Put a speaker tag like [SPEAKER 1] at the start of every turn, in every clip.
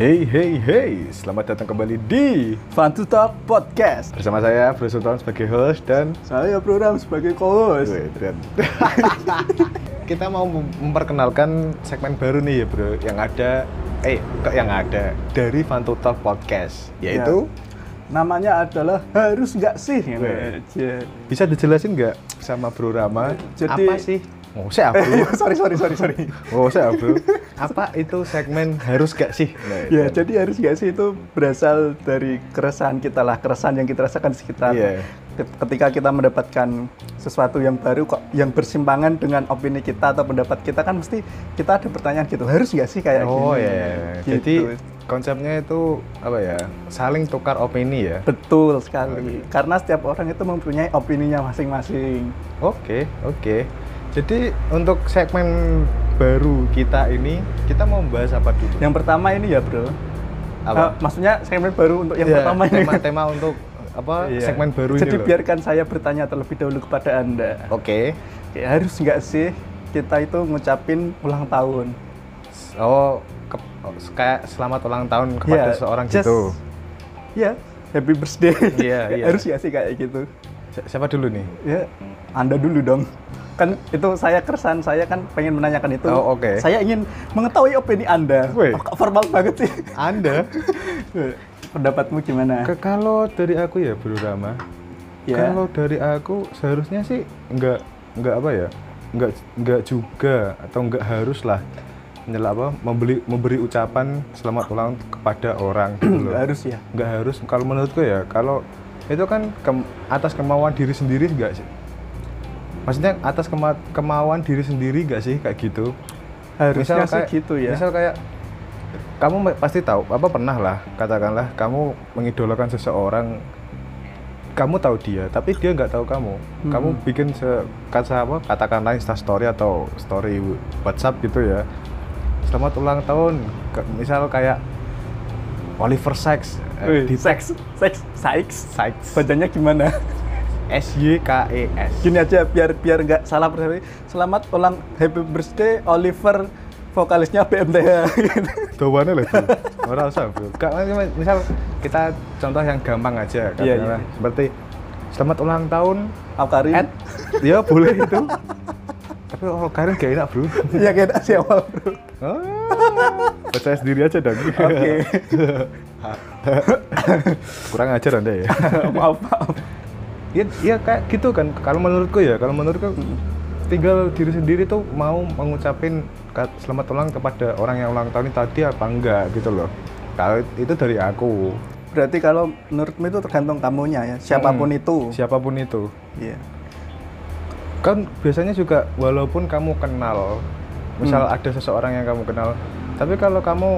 [SPEAKER 1] Hey hey hey, selamat datang kembali di
[SPEAKER 2] Fantu Talk Podcast.
[SPEAKER 1] bersama saya Bro Sultan sebagai host dan
[SPEAKER 2] Saya program sebagai co-host.
[SPEAKER 1] Gue, Adrian. Kita mau mem- memperkenalkan segmen baru nih ya Bro, yang ada eh kok yang ada dari Fantotal Podcast, yaitu
[SPEAKER 2] Ya. Namanya adalah harus nggak sih? gitu
[SPEAKER 1] Weh.
[SPEAKER 2] aja.
[SPEAKER 1] Ya. bisa dijelasin nggak sama Bro Rama
[SPEAKER 2] Jadi-
[SPEAKER 1] apa sih? Mau saya Bro.
[SPEAKER 2] sorry sorry sorry sorry.
[SPEAKER 1] Mau saya Bro. Apa itu segmen harus gak sih? Nah,
[SPEAKER 2] ya
[SPEAKER 1] Adrian.
[SPEAKER 2] jadi harus nggak sih itu berasal dari keresahan kita lah keresahan yang kita rasakan sekitar
[SPEAKER 1] Iya.
[SPEAKER 2] ke- ketika kita mendapatkan sesuatu yang baru kok yang bersimpangan dengan opini kita atau pendapat kita kan mesti kita ada pertanyaan gitu harus nggak sih kayak
[SPEAKER 1] Oh
[SPEAKER 2] gini?
[SPEAKER 1] ya.
[SPEAKER 2] Gitu.
[SPEAKER 1] Jadi konsepnya itu apa ya? Saling tukar opini ya.
[SPEAKER 2] betul sekali karena setiap orang itu mempunyai opininya masing-masing
[SPEAKER 1] Oke, oke. Jadi untuk segmen baru kita ini, kita mau membahas apa dulu?
[SPEAKER 2] yang pertama ini ya bro Eh, maksudnya segmen baru untuk yang
[SPEAKER 1] Ya,
[SPEAKER 2] pertama ini.
[SPEAKER 1] tema-tema untuk apa?
[SPEAKER 2] Iya.
[SPEAKER 1] Segmen baru ini
[SPEAKER 2] Jadi
[SPEAKER 1] loh.
[SPEAKER 2] biarkan saya bertanya terlebih dahulu kepada Anda.
[SPEAKER 1] Oke.
[SPEAKER 2] Oke, harus nggak sih kita itu ngucapin ulang tahun?
[SPEAKER 1] Oh, ke- oh, kayak selamat ulang tahun kepada
[SPEAKER 2] Ya,
[SPEAKER 1] seorang
[SPEAKER 2] just-
[SPEAKER 1] gitu.
[SPEAKER 2] Ya, happy birthday.
[SPEAKER 1] Iya, iya.
[SPEAKER 2] Harus nggak sih kayak gitu?
[SPEAKER 1] Si- Siapa dulu nih?
[SPEAKER 2] Ya, Anda dulu dong. Kan itu saya keresahan saya kan pengen menanyakan itu.
[SPEAKER 1] Oh, oke.
[SPEAKER 2] Saya ingin mengetahui opini Anda.
[SPEAKER 1] Weh.
[SPEAKER 2] Oh, kok formal banget sih.
[SPEAKER 1] Anda?
[SPEAKER 2] Pendapatmu gimana?
[SPEAKER 1] Ke- kalau dari aku ya, Bro Rama.
[SPEAKER 2] Ya.
[SPEAKER 1] Kalau dari aku seharusnya sih nggak nggak apa ya? Nggak nggak juga atau nggak harus lah menyela- apa membeli memberi ucapan selamat ulang kepada orang gitu loh.
[SPEAKER 2] Nggak harus ya.
[SPEAKER 1] nggak harus kalau menurutku ya kalau itu kan kem- atas kemauan diri sendiri nggak sih maksudnya atas kema- kemauan diri sendiri nggak sih kayak gitu
[SPEAKER 2] Harusnya sih
[SPEAKER 1] kayak-
[SPEAKER 2] gitu ya.
[SPEAKER 1] misal kayak kamu me- pasti tahu apa pernah lah katakanlah kamu mengidolakan seseorang kamu tahu dia tapi dia nggak tahu kamu
[SPEAKER 2] Hmm.
[SPEAKER 1] kamu bikin se kata apa katakanlah insta story atau story WhatsApp gitu ya selamat ulang tahun Ke- misal kayak Oliver Sykes
[SPEAKER 2] Wih,
[SPEAKER 1] eh, di
[SPEAKER 2] seks, seks, seks.
[SPEAKER 1] Sykes
[SPEAKER 2] Bacanya gimana?
[SPEAKER 1] S Y K E S
[SPEAKER 2] Gini aja biar biar nggak salah persepsi. Selamat ulang happy birthday Oliver vokalisnya BMTH.
[SPEAKER 1] Tawannya lah bro. Orang usah bro. Kak, mas- misal kita contoh yang gampang aja,
[SPEAKER 2] Iya,
[SPEAKER 1] katakanlah.
[SPEAKER 2] iya.
[SPEAKER 1] seperti selamat ulang tahun.
[SPEAKER 2] Alkarin.
[SPEAKER 1] At, ya boleh itu. Tapi kalau Karin gak enak bro.
[SPEAKER 2] Ya kayak si awal bro.
[SPEAKER 1] Ah, Percaya sendiri aja dong.
[SPEAKER 2] Oke.
[SPEAKER 1] Kurang ajar anda ya.
[SPEAKER 2] maaf maaf.
[SPEAKER 1] Iya ya, kayak gitu kan. Kalau menurutku ya, kalau menurutku tinggal diri sendiri tuh mau mengucapin ka- selamat ulang kepada orang yang ulang tahun tadi apa enggak gitu loh. Kalau itu dari aku.
[SPEAKER 2] Berarti kalau menurutmu itu tergantung tamunya ya. Siapapun
[SPEAKER 1] Mm,
[SPEAKER 2] itu.
[SPEAKER 1] Siapapun itu.
[SPEAKER 2] Iya.
[SPEAKER 1] Kan biasanya juga walaupun kamu kenal, misal ada seseorang yang kamu kenal, tapi kalau kamu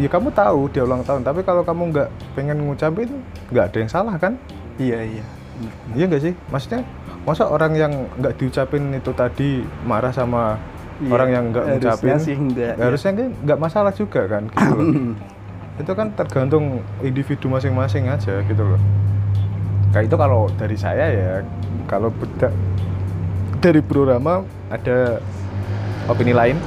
[SPEAKER 1] ya kamu tahu dia ulang tahun, tapi kalau kamu nggak pengen ngucapin, nggak ada yang salah kan?
[SPEAKER 2] Iya iya. Bener.
[SPEAKER 1] Iya nggak sih? Maksudnya masa orang yang nggak diucapin itu tadi marah sama
[SPEAKER 2] Iya,
[SPEAKER 1] orang yang nggak
[SPEAKER 2] harusnya
[SPEAKER 1] ngucapin?
[SPEAKER 2] sih nggak, iya. Hmm.
[SPEAKER 1] Harusnya kan nggak masalah juga kan gitu loh. itu kan tergantung individu masing-masing aja gitu loh. Kayak itu kalau dari saya ya, kalau beda dari Bro Rama ada opini lain.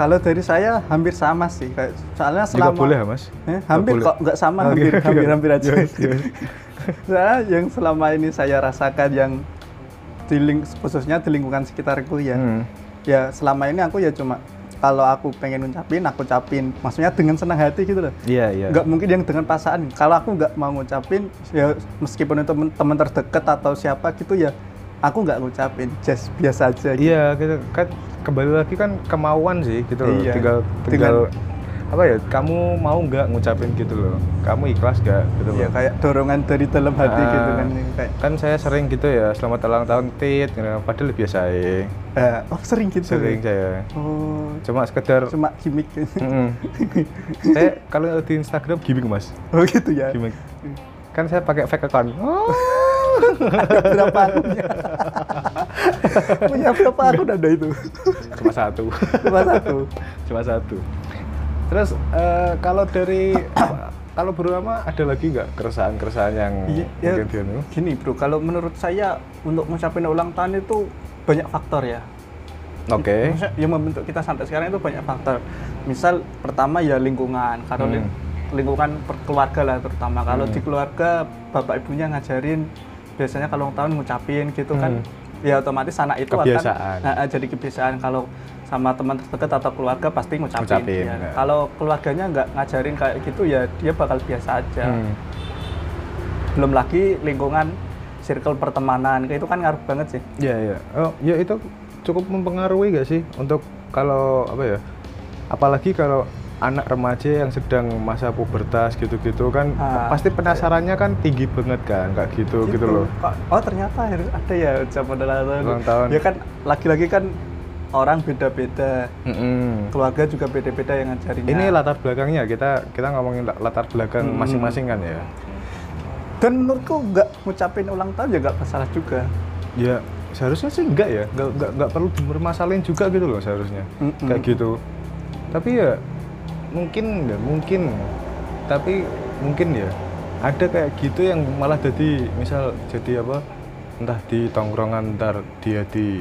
[SPEAKER 2] Kalau dari saya hampir sama sih. Kayak soalnya
[SPEAKER 1] Juga
[SPEAKER 2] selama
[SPEAKER 1] boleh ya Mas?
[SPEAKER 2] Eh, hampir
[SPEAKER 1] boleh.
[SPEAKER 2] kok nggak sama
[SPEAKER 1] Oke,
[SPEAKER 2] hampir
[SPEAKER 1] oke.
[SPEAKER 2] hampir hampir aja.
[SPEAKER 1] Yes, yes.
[SPEAKER 2] Nah, yang selama ini saya rasakan yang di ling- khususnya di lingkungan sekitarku ya.
[SPEAKER 1] Hmm.
[SPEAKER 2] Ya selama ini aku ya cuma kalau aku pengen ngucapin aku ucapin. Maksudnya dengan senang hati gitu loh.
[SPEAKER 1] Iya, iya.
[SPEAKER 2] Nggak mungkin yang dengan pasangan. Kalau aku nggak mau ngucapin ya meskipun itu temen, temen terdekat atau siapa gitu ya aku nggak ngucapin. Just biasa aja. gitu.
[SPEAKER 1] Iya, gitu. kan kembali lagi kan kemauan sih gitu loh.
[SPEAKER 2] Iya.
[SPEAKER 1] Tinggal tinggal
[SPEAKER 2] Dengan-
[SPEAKER 1] apa ya? Kamu mau nggak ngucapin gitu loh? Kamu ikhlas nggak gitu loh?
[SPEAKER 2] Ya kayak dorongan dari dalam hati
[SPEAKER 1] Ah.
[SPEAKER 2] gitu kan kayak
[SPEAKER 1] Kan saya sering gitu ya, selamat ulang tahun Tit, gitu. padahal biasa ya.
[SPEAKER 2] eh, oh sering gitu.
[SPEAKER 1] Sering saya.
[SPEAKER 2] Oh,
[SPEAKER 1] Cuma sekedar
[SPEAKER 2] cuma gimmick.
[SPEAKER 1] Mm-mm. saya kalau di Instagram gimmick Mas.
[SPEAKER 2] Oh gitu ya.
[SPEAKER 1] Gimmick. Kan saya pakai fake account. Oh.
[SPEAKER 2] Ada berapa akunnya? Punya berapa akun ada itu?
[SPEAKER 1] Cuma satu.
[SPEAKER 2] Cuma satu.
[SPEAKER 1] Cuma satu. Terus eh, kalau dari kalau berlama ada lagi nggak keresahan-keresahan yang
[SPEAKER 2] Iya, ya.
[SPEAKER 1] mungkin dia nih?
[SPEAKER 2] Gini bro, kalau menurut saya untuk ngucapin ulang tahun itu banyak faktor ya.
[SPEAKER 1] Oke.
[SPEAKER 2] Maksudnya yang membentuk kita sampai sekarang itu banyak faktor. Misal pertama ya
[SPEAKER 1] Hmm.
[SPEAKER 2] lingkungan, kalau lin- lingkungan per- keluarga lah terutama. Kalau di keluarga bapak ibunya ngajarin biasanya kalau ulang tahun ngucapin gitu kan, ya otomatis anak itu
[SPEAKER 1] Hmm. Kebiasaan.
[SPEAKER 2] akan nah, nah, jadi kebiasaan kalau sama teman terdekat atau keluarga pasti ngucapin.
[SPEAKER 1] Ngucapin,
[SPEAKER 2] ya.
[SPEAKER 1] ya.
[SPEAKER 2] Kalau keluarganya nggak ngajarin kayak gitu ya dia bakal biasa aja.
[SPEAKER 1] Hmm.
[SPEAKER 2] Belum lagi lingkungan circle pertemanan, itu kan ngaruh banget sih.
[SPEAKER 1] Ya ya. Oh, ya itu cukup mempengaruhi gak sih untuk kalau apa ya? Apalagi kalau anak remaja yang sedang masa pubertas gitu-gitu kan
[SPEAKER 2] Ah.
[SPEAKER 1] pasti penasarannya kan tinggi banget kan kayak gitu gitu loh.
[SPEAKER 2] Kok- Oh ternyata harus ada ya ucapan ulang tahun.
[SPEAKER 1] Ulang tahun.
[SPEAKER 2] Ya kan lagi-lagi kan orang beda-beda,
[SPEAKER 1] Mm-mm.
[SPEAKER 2] keluarga juga beda-beda yang ngajarinnya.
[SPEAKER 1] Ini latar belakangnya kita kita ngomongin la- latar belakang
[SPEAKER 2] Hmm.
[SPEAKER 1] masing-masing kan ya.
[SPEAKER 2] Dan menurutku nggak ngucapin ulang tahun ya nggak masalah juga.
[SPEAKER 1] Ya seharusnya sih enggak ya, enggak enggak, enggak perlu dipermasalahin juga gitu loh seharusnya.
[SPEAKER 2] Mm-mm.
[SPEAKER 1] Kayak gitu. Tapi ya mungkin ya mungkin tapi mungkin ya ada kayak gitu yang malah jadi misal jadi apa entah di tongkrongan ntar dia di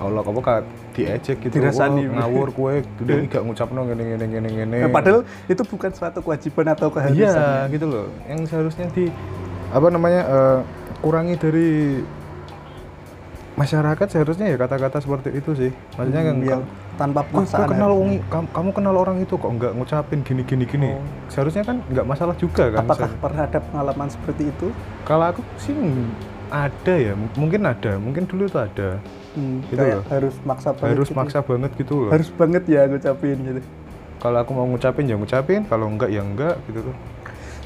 [SPEAKER 1] Allah apa kayak diejek gitu
[SPEAKER 2] Dirasani.
[SPEAKER 1] "Wah, ngawur kue udah gak ngucapno ngene ngene ngene ngene
[SPEAKER 2] Nah, padahal itu bukan suatu kewajiban atau keharusan.
[SPEAKER 1] Iya gitu loh, yang seharusnya di apa namanya eh, kurangi dari masyarakat seharusnya ya kata-kata seperti itu sih. Maksudnya kan
[SPEAKER 2] Yang
[SPEAKER 1] ka-
[SPEAKER 2] Iya. tanpa
[SPEAKER 1] "Kok- kok
[SPEAKER 2] pemaksaan.
[SPEAKER 1] kenal wong i- kamu, kamu kenal orang itu kok nggak ngucapin gini gini gini. Seharusnya kan nggak masalah juga kan.
[SPEAKER 2] Oh. Apakah
[SPEAKER 1] seharusnya.
[SPEAKER 2] pernah ada pengalaman seperti itu?
[SPEAKER 1] Kalau aku sih m- ada ya, m- mungkin ada, mungkin dulu tuh ada.
[SPEAKER 2] Hmm,
[SPEAKER 1] Gitu
[SPEAKER 2] kayak
[SPEAKER 1] loh.
[SPEAKER 2] harus maksa banget
[SPEAKER 1] Harus
[SPEAKER 2] gitu.
[SPEAKER 1] maksa banget gitu loh.
[SPEAKER 2] Harus banget ya ngucapin gitu.
[SPEAKER 1] Kalau aku mau ngucapin ya ngucapin, kalau enggak ya enggak gitu loh.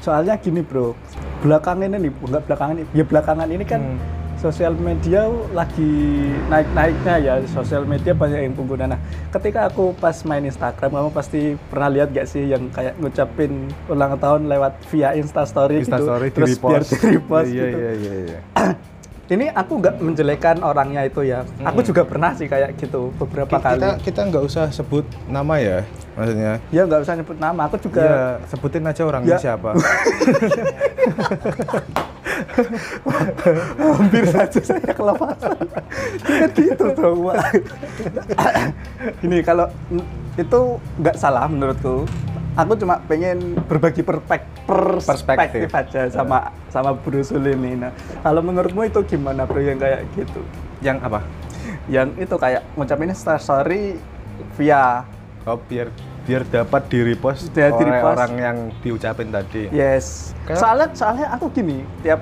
[SPEAKER 2] soalnya gini bro belakangan ini enggak belakangan ini ya belakangan ini kan
[SPEAKER 1] Hmm.
[SPEAKER 2] sosial media lagi naik-naiknya ya sosial media banyak yang pengguna nah ketika aku pas main Instagram kamu pasti pernah lihat gak sih yang kayak ngucapin ulang tahun lewat via Instastory gitu
[SPEAKER 1] Instastory
[SPEAKER 2] terus biar
[SPEAKER 1] di-repost.
[SPEAKER 2] di repost
[SPEAKER 1] Iya,
[SPEAKER 2] gitu
[SPEAKER 1] iya, iya, iya.
[SPEAKER 2] ini aku nggak menjelekan orangnya itu ya aku
[SPEAKER 1] Hmm.
[SPEAKER 2] juga pernah sih kayak gitu beberapa
[SPEAKER 1] Ki- kita
[SPEAKER 2] kali
[SPEAKER 1] kita nggak usah sebut nama ya maksudnya
[SPEAKER 2] ya nggak usah nyebut nama aku juga
[SPEAKER 1] ya sebutin aja orangnya
[SPEAKER 2] Ya.
[SPEAKER 1] siapa
[SPEAKER 2] hampir saja saya kelepasan kan gitu dong Pak. ini kalau itu nggak salah menurutku aku cuma pengen berbagi perpek,
[SPEAKER 1] Perspektif.
[SPEAKER 2] perspektif aja sama sama Bro Sulim nih nah, kalau menurutmu itu gimana bro yang kayak gitu
[SPEAKER 1] yang apa
[SPEAKER 2] yang itu kayak ngucapinnya sorry via
[SPEAKER 1] oh biar biar dapat di repost
[SPEAKER 2] Biar di
[SPEAKER 1] oleh
[SPEAKER 2] repost.
[SPEAKER 1] orang yang diucapin tadi
[SPEAKER 2] Yes.
[SPEAKER 1] Kayak-
[SPEAKER 2] Soalnya soalnya aku gini, tiap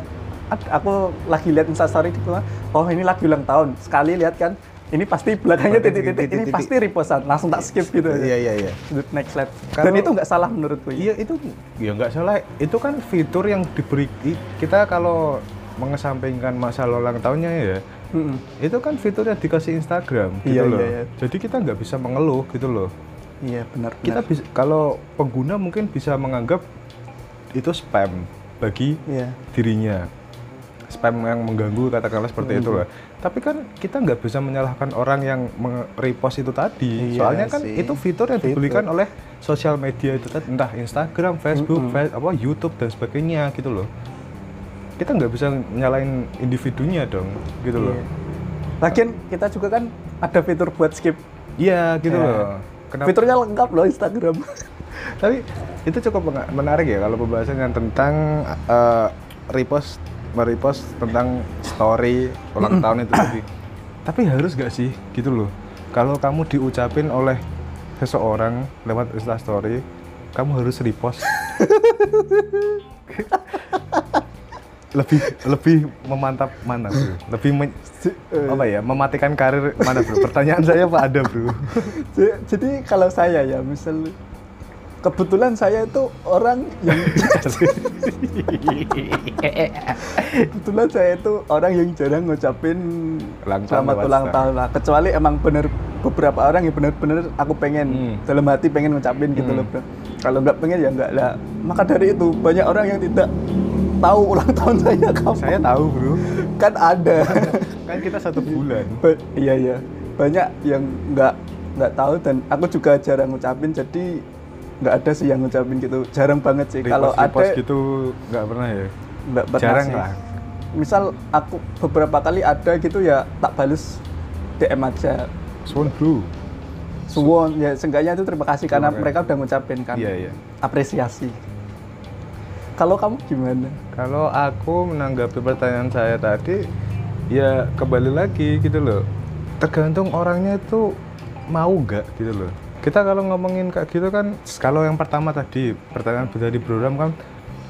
[SPEAKER 2] ad- aku lagi lihat instastory gitu, oh ini lagi ulang tahun. Sekali lihat kan, ini pasti belakangnya titik-titik, ini
[SPEAKER 1] Titik-titik.
[SPEAKER 2] pasti repostan. Langsung tak skip gitu.
[SPEAKER 1] iya iya
[SPEAKER 2] aja.
[SPEAKER 1] iya
[SPEAKER 2] Next slide. Dan
[SPEAKER 1] Kalau-
[SPEAKER 2] itu nggak salah menurutku.
[SPEAKER 1] iya itu ya nggak salah itu kan fitur yang diberi i- kita kalau mengesampingkan masalah ulang tahunnya ya
[SPEAKER 2] Mm-mm.
[SPEAKER 1] itu kan fitur yang dikasih Instagram gitu
[SPEAKER 2] Iya,
[SPEAKER 1] loh
[SPEAKER 2] iya, iya.
[SPEAKER 1] jadi kita nggak bisa mengeluh gitu loh
[SPEAKER 2] Iya benar.
[SPEAKER 1] kita
[SPEAKER 2] benar.
[SPEAKER 1] bisa kalau pengguna mungkin bisa menganggap itu spam bagi
[SPEAKER 2] Iya.
[SPEAKER 1] dirinya spam yang mengganggu katakanlah
[SPEAKER 2] Hmm.
[SPEAKER 1] seperti itu lah tapi kan kita nggak bisa menyalahkan orang yang repost itu tadi
[SPEAKER 2] Iya
[SPEAKER 1] soalnya kan
[SPEAKER 2] sih.
[SPEAKER 1] itu fitur yang diberikan oleh sosial media itu tadi entah Instagram, Facebook, Fe- apa YouTube dan sebagainya gitu loh kita nggak bisa nyalain individunya dong gitu loh
[SPEAKER 2] Iya. Lagian kita juga kan ada fitur buat skip.
[SPEAKER 1] iya gitu
[SPEAKER 2] Iya.
[SPEAKER 1] loh kenapa
[SPEAKER 2] Fiturnya lengkap loh Instagram.
[SPEAKER 1] tapi itu cukup mena- menarik ya kalau pembahasan yang tentang eh, repost merepost tentang story ulang tahun itu tadi tapi harus gak sih gitu loh kalau kamu diucapin oleh seseorang lewat instastory kamu harus repost lebih lebih memantap mana bro lebih men- apa ya mematikan karir mana bro pertanyaan saya apa ada bro
[SPEAKER 2] J- Jadi kalau saya ya misal kebetulan saya itu orang yang kebetulan saya itu orang yang jarang ngucapin
[SPEAKER 1] Ulang tahun
[SPEAKER 2] selamat
[SPEAKER 1] lewat
[SPEAKER 2] ulang
[SPEAKER 1] Instagram.
[SPEAKER 2] tahun lah kecuali emang bener beberapa orang yang bener-bener aku pengen
[SPEAKER 1] Hmm.
[SPEAKER 2] dalam hati pengen ngucapin gitu loh bro kalau nggak pengen ya nggak lah maka dari itu banyak orang yang tidak tahu ulang tahun saya kapan
[SPEAKER 1] saya tahu bro
[SPEAKER 2] kan ada
[SPEAKER 1] kan kita satu bulan
[SPEAKER 2] Ba- iya iya banyak yang nggak nggak tahu dan aku juga jarang ngucapin jadi nggak ada sih yang ngucapin gitu jarang banget sih kalau
[SPEAKER 1] Repost-repost
[SPEAKER 2] ada
[SPEAKER 1] gitu nggak pernah ya
[SPEAKER 2] nggak pernah
[SPEAKER 1] jarang
[SPEAKER 2] sih.
[SPEAKER 1] lah.
[SPEAKER 2] misal aku beberapa kali ada gitu ya tak balas DM aja
[SPEAKER 1] Swan Blue.
[SPEAKER 2] Suwon ya seenggaknya itu terima kasih karena
[SPEAKER 1] Terima
[SPEAKER 2] mereka udah ngucapin kan
[SPEAKER 1] Iya, iya.
[SPEAKER 2] apresiasi. Kalau kamu gimana?
[SPEAKER 1] Kalau aku menanggapi pertanyaan saya tadi, ya kembali lagi gitu loh. Tergantung orangnya itu mau nggak gitu loh. Kita kalau ngomongin kayak gitu kan, kalau yang pertama tadi pertanyaan dari Bro Ram kan,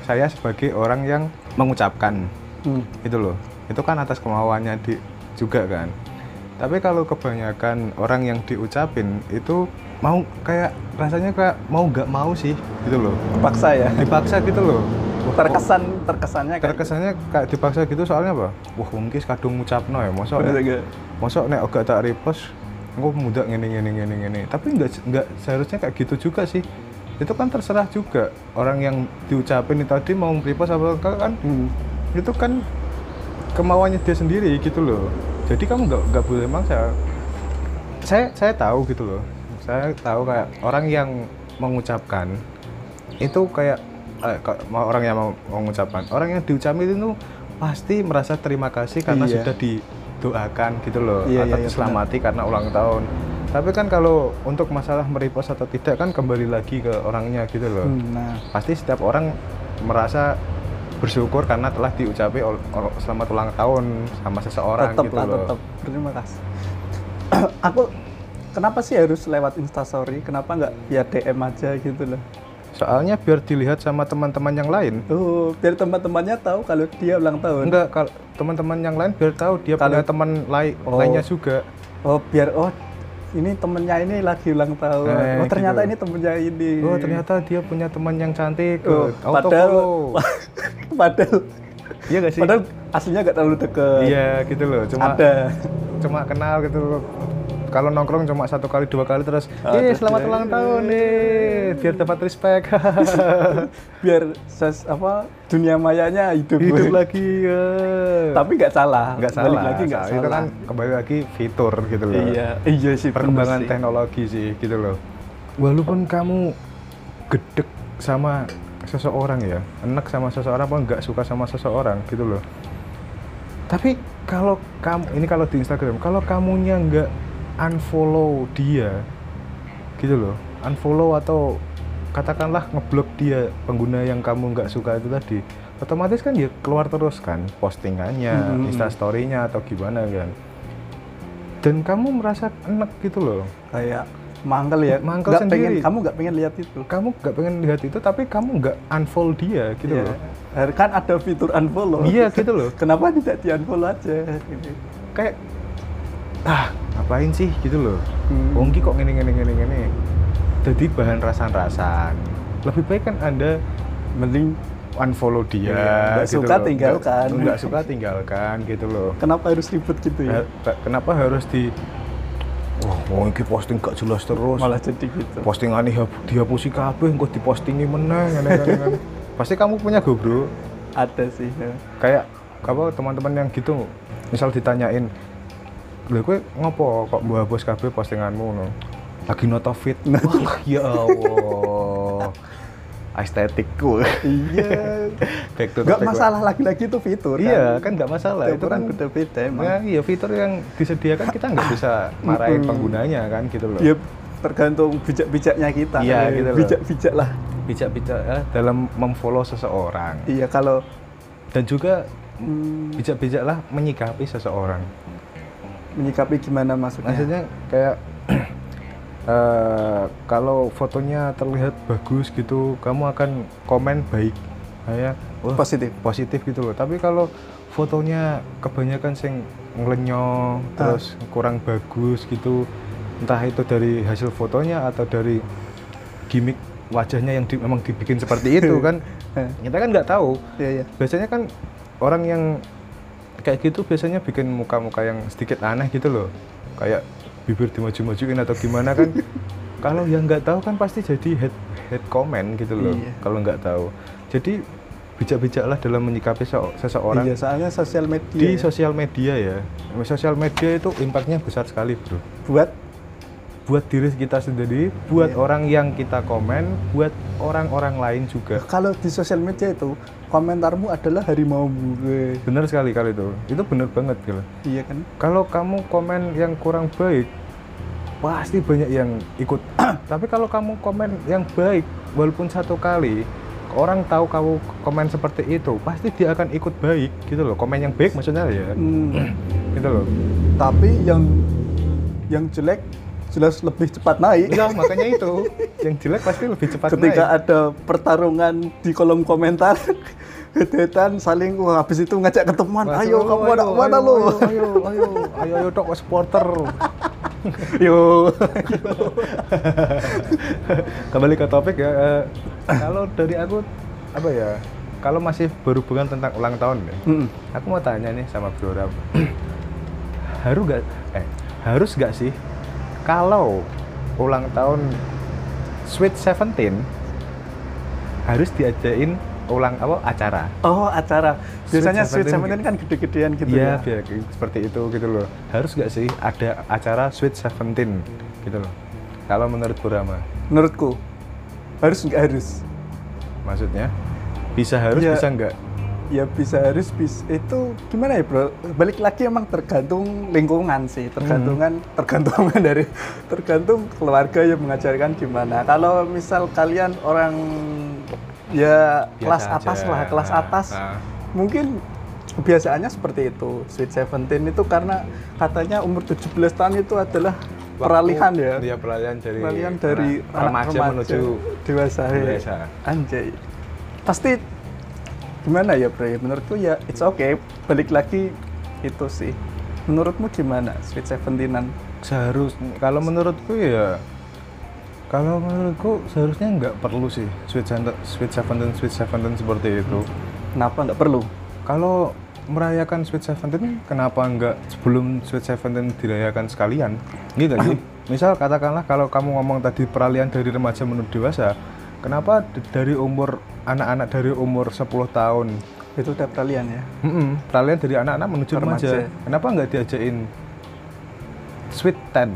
[SPEAKER 1] saya sebagai orang yang mengucapkan
[SPEAKER 2] Hmm.
[SPEAKER 1] itu loh. Itu kan atas kemauannya di juga kan. Tapi kalau kebanyakan orang yang diucapin itu mau kayak rasanya kayak mau nggak mau sih gitu loh.
[SPEAKER 2] Paksa ya.
[SPEAKER 1] Dipaksa gitu loh
[SPEAKER 2] Terkesan terkesannya kayak
[SPEAKER 1] terkesannya kayak dipaksa gitu soalnya apa? Wah mungkin kadung ngucapno ya, mosok
[SPEAKER 2] Bener
[SPEAKER 1] nek,
[SPEAKER 2] nggak?
[SPEAKER 1] mosok nek agak tak repost, engko muda ngene ngene ngene ngene. Tapi nggak nggak seharusnya kayak gitu juga sih. Itu kan terserah juga orang yang diucapin itu tadi mau repost apa enggak kan
[SPEAKER 2] Hmm.
[SPEAKER 1] itu kan kemauannya dia sendiri gitu loh. Jadi kamu nggak nggak boleh maksa. Saya saya tahu gitu loh. Saya tahu kayak orang yang mengucapkan itu kayak eh, kok- mau orang yang mau mengucapkan orang yang diucapin itu pasti merasa terima kasih karena
[SPEAKER 2] Iya.
[SPEAKER 1] sudah didoakan gitu loh
[SPEAKER 2] Iya,
[SPEAKER 1] atau
[SPEAKER 2] iya, iya,
[SPEAKER 1] diselamati karena ulang tahun. Tapi kan kalau untuk masalah meripos atau tidak kan kembali lagi ke orangnya gitu loh
[SPEAKER 2] Hmm, Nah,
[SPEAKER 1] pasti setiap orang merasa bersyukur karena telah diucapi ol- ol- selamat ulang tahun sama seseorang
[SPEAKER 2] tetap
[SPEAKER 1] gitu
[SPEAKER 2] lah
[SPEAKER 1] loh.
[SPEAKER 2] tetap. Terima kasih. Aku kenapa sih harus lewat Instastory? Kenapa nggak via DM aja gitu loh?
[SPEAKER 1] Soalnya biar dilihat sama teman-teman yang lain.
[SPEAKER 2] Oh, biar teman-temannya tahu kalau dia ulang tahun.
[SPEAKER 1] Enggak, kalau teman-teman yang lain biar tahu dia
[SPEAKER 2] Kalau-
[SPEAKER 1] punya teman lai-
[SPEAKER 2] Oh.
[SPEAKER 1] lainnya juga.
[SPEAKER 2] Oh, biar oh ini temennya ini lagi ulang tahun.
[SPEAKER 1] Eh,
[SPEAKER 2] oh, ternyata
[SPEAKER 1] gitu.
[SPEAKER 2] ini temennya ini.
[SPEAKER 1] Oh, eh, ternyata dia punya teman yang cantik.
[SPEAKER 2] Iya. Oh,
[SPEAKER 1] Auto
[SPEAKER 2] padahal
[SPEAKER 1] follow.
[SPEAKER 2] padahal
[SPEAKER 1] oh. Iya gak sih?
[SPEAKER 2] padahal aslinya nggak terlalu deket.
[SPEAKER 1] Iya, gitu loh. Cuma
[SPEAKER 2] Ada.
[SPEAKER 1] cuma kenal gitu loh. Kalau nongkrong cuma satu kali dua kali terus,
[SPEAKER 2] Ah,
[SPEAKER 1] "Eh,
[SPEAKER 2] terus
[SPEAKER 1] selamat
[SPEAKER 2] dia,
[SPEAKER 1] ulang tahun nih." Biar dapat respect.
[SPEAKER 2] Biar ses, apa dunia mayanya hidup.
[SPEAKER 1] Hidup lagi. ya.
[SPEAKER 2] Tapi nggak salah.
[SPEAKER 1] nggak salah,
[SPEAKER 2] Balik lagi nggak
[SPEAKER 1] salah.
[SPEAKER 2] salah.
[SPEAKER 1] itu kan kembali lagi fitur gitu loh
[SPEAKER 2] Iya, iya sih. bener
[SPEAKER 1] perkembangan
[SPEAKER 2] sih.
[SPEAKER 1] teknologi sih gitu loh walaupun kamu gedek sama seseorang ya enak sama seseorang apa nggak suka sama seseorang gitu loh tapi kalau kamu ini kalau di Instagram kalau kamunya nggak unfollow dia gitu loh unfollow atau katakanlah ngeblok dia pengguna yang kamu nggak suka itu tadi otomatis kan dia keluar terus kan postingannya
[SPEAKER 2] Mhm.
[SPEAKER 1] instastorynya atau gimana kan dan kamu merasa enak gitu loh
[SPEAKER 2] Kayak mangkel ya.
[SPEAKER 1] Mangkel
[SPEAKER 2] Nggak pengen,
[SPEAKER 1] sendiri.
[SPEAKER 2] kamu nggak pengen lihat itu.
[SPEAKER 1] kamu nggak pengen lihat itu tapi kamu nggak unfollow dia gitu
[SPEAKER 2] Iya.
[SPEAKER 1] loh
[SPEAKER 2] Kan ada fitur unfollow.
[SPEAKER 1] iya gitu loh
[SPEAKER 2] Kenapa tidak di unfollow aja? Gitu.
[SPEAKER 1] kayak ah ngapain sih gitu loh
[SPEAKER 2] Hmm.
[SPEAKER 1] Wongki kok ngene ngene ngene ngene jadi bahan rasan-rasan lebih baik kan anda
[SPEAKER 2] Mending
[SPEAKER 1] unfollow dia gitu
[SPEAKER 2] Iya, nggak suka,
[SPEAKER 1] loh.
[SPEAKER 2] tinggalkan.
[SPEAKER 1] nggak nggak suka tinggalkan gitu loh
[SPEAKER 2] kenapa harus ribut gitu ya?
[SPEAKER 1] Nah, ba- kenapa harus di wah oh, ini posting gak jelas terus
[SPEAKER 2] Malah jadi gitu.
[SPEAKER 1] postingan ini dihapusi kabeh engko dipostingi meneh ngene ngene, ngene. pasti kamu punya go bro
[SPEAKER 2] Ada sih.
[SPEAKER 1] Iya.
[SPEAKER 2] ya.
[SPEAKER 1] kayak apa teman-teman yang gitu misal ditanyain lho kowe ngopo kok mbok hapus kabeh postinganmu no lagi noto fit wah ya Allah estetik gue
[SPEAKER 2] Iya.
[SPEAKER 1] back to
[SPEAKER 2] Nggak
[SPEAKER 1] topic, Wak.
[SPEAKER 2] masalah lagi-lagi itu fitur.
[SPEAKER 1] iya kan nggak masalah
[SPEAKER 2] Itu
[SPEAKER 1] itu kan
[SPEAKER 2] beda-beda emang.
[SPEAKER 1] Ya, iya fitur yang disediakan kita nggak bisa marahin penggunanya kan gitu loh.
[SPEAKER 2] Ya tergantung bijak-bijaknya kita.
[SPEAKER 1] Iya,
[SPEAKER 2] Eh,
[SPEAKER 1] gitu loh.
[SPEAKER 2] Bijak-bijak lah.
[SPEAKER 1] Bijak-bijak ya, dalam memfollow seseorang
[SPEAKER 2] Iya kalau
[SPEAKER 1] dan juga
[SPEAKER 2] hmm,
[SPEAKER 1] bijak-bijaklah menyikapi seseorang.
[SPEAKER 2] menyikapi gimana maksudnya?
[SPEAKER 1] Maksudnya kayak eh, kalau fotonya terlihat bagus gitu, kamu akan komen baik, kayak wah,
[SPEAKER 2] Positif.
[SPEAKER 1] positif gitu loh. Tapi kalau fotonya kebanyakan sing nglenyo terus kurang bagus gitu. Entah itu dari hasil fotonya atau dari gimmick wajahnya yang di- memang dibikin seperti itu kan.
[SPEAKER 2] Eh,
[SPEAKER 1] Kita kan nggak tahu.
[SPEAKER 2] Iya iya.
[SPEAKER 1] Biasanya kan orang yang kayak gitu biasanya bikin muka-muka yang sedikit aneh gitu loh. Kayak bibir dimaju-majuin atau gimana kan. Kalau yang nggak tahu kan pasti jadi head head comment gitu loh.
[SPEAKER 2] Iya.
[SPEAKER 1] Kalau nggak tahu. Jadi bijak-bijaklah dalam menyikapi se- seseorang
[SPEAKER 2] Iya soalnya sosial media
[SPEAKER 1] di
[SPEAKER 2] ya.
[SPEAKER 1] sosial media ya. Sosial media itu impactnya besar sekali bro.
[SPEAKER 2] buat
[SPEAKER 1] Buat diri kita sendiri, buat
[SPEAKER 2] Iya.
[SPEAKER 1] orang yang kita komen, buat orang-orang lain juga.
[SPEAKER 2] kalau di sosial media itu komentarmu adalah harimaumu. Weh.
[SPEAKER 1] Bener sekali kali itu. Itu bener banget gitu.
[SPEAKER 2] Iya kan?
[SPEAKER 1] Kalau kamu komen yang kurang baik, pasti banyak yang ikut tapi kalau kamu komen yang baik walaupun satu kali orang tahu kamu komen seperti itu pasti dia akan ikut baik gitu loh komen yang baik maksudnya ya
[SPEAKER 2] Hmm.
[SPEAKER 1] gitu loh
[SPEAKER 2] Tapi yang yang jelek jelas lebih cepat naik.
[SPEAKER 1] Iya, makanya itu yang jelek pasti lebih cepat
[SPEAKER 2] Ketika
[SPEAKER 1] naik.
[SPEAKER 2] ada pertarungan di kolom komentar, head-headan saling wah habis itu ngajak ketemuan.
[SPEAKER 1] Wah,
[SPEAKER 2] Ayo kamu ada
[SPEAKER 1] ayo,
[SPEAKER 2] mana lo?
[SPEAKER 1] Ayo, ayo, ayo, ayo dok supporter.
[SPEAKER 2] Yo.
[SPEAKER 1] Kembali ke topik ya. eh, kalau dari aku apa ya? Kalau masih berhubungan tentang ulang tahun ya.
[SPEAKER 2] Mm-mm.
[SPEAKER 1] Aku mau tanya nih sama Bro Ram. harus gak eh harus gak sih kalau ulang tahun Sweet 17 harus diajain ulang apa acara?
[SPEAKER 2] Oh acara. Biasanya
[SPEAKER 1] Sweet 17
[SPEAKER 2] Sweet Seventeen kan gede-gedean gitu
[SPEAKER 1] Iya,
[SPEAKER 2] ya.
[SPEAKER 1] biar kayak seperti itu gitu loh. Harus nggak sih ada acara Sweet 17 gitu loh. Kalau menurut Bu Rama,
[SPEAKER 2] Menurutku harus nggak harus.
[SPEAKER 1] maksudnya bisa harus
[SPEAKER 2] Ya.
[SPEAKER 1] bisa nggak?
[SPEAKER 2] Ya bisa harus bisa itu gimana ya bro? Balik lagi emang tergantung lingkungan sih, tergantungan
[SPEAKER 1] Hmm.
[SPEAKER 2] tergantungan dari tergantung keluarga yang mengajarkan gimana. Kalau misal kalian orang ya
[SPEAKER 1] Biasa
[SPEAKER 2] kelas atas
[SPEAKER 1] aja.
[SPEAKER 2] lah, kelas atas
[SPEAKER 1] Ah.
[SPEAKER 2] mungkin kebiasaannya seperti itu. Sweet Seventeen itu karena katanya umur 17 tahun itu adalah peralihan ya.
[SPEAKER 1] Iya peralihan dari
[SPEAKER 2] Peralihan dari
[SPEAKER 1] anak-
[SPEAKER 2] anak
[SPEAKER 1] remaja, menuju
[SPEAKER 2] dewasa. ya.
[SPEAKER 1] dewasa.
[SPEAKER 2] Anjay. Pasti gimana ya, Bro? Menurutku ya it's okay. Balik lagi itu sih. Menurutmu gimana Sweet Seventeenan?
[SPEAKER 1] seharusnya. Kalau menurutku ya kalau menurutku seharusnya nggak perlu sih Sweet Santa- Sweet 17 Sweet 17 seperti itu.
[SPEAKER 2] Kenapa nggak perlu?
[SPEAKER 1] Kalau merayakan Sweet Seventeen, kenapa nggak sebelum Sweet Seventeen dirayakan sekalian? Gitu sih. Misal katakanlah kalau kamu ngomong tadi peralihan dari remaja menuju dewasa, kenapa d- dari umur anak-anak dari umur 10 tahun,
[SPEAKER 2] Itu udah peralihan ya.
[SPEAKER 1] Mm-mm, peralihan dari anak-anak menuju remaja,
[SPEAKER 2] Remaja.
[SPEAKER 1] kenapa nggak diajain Sweet Ten?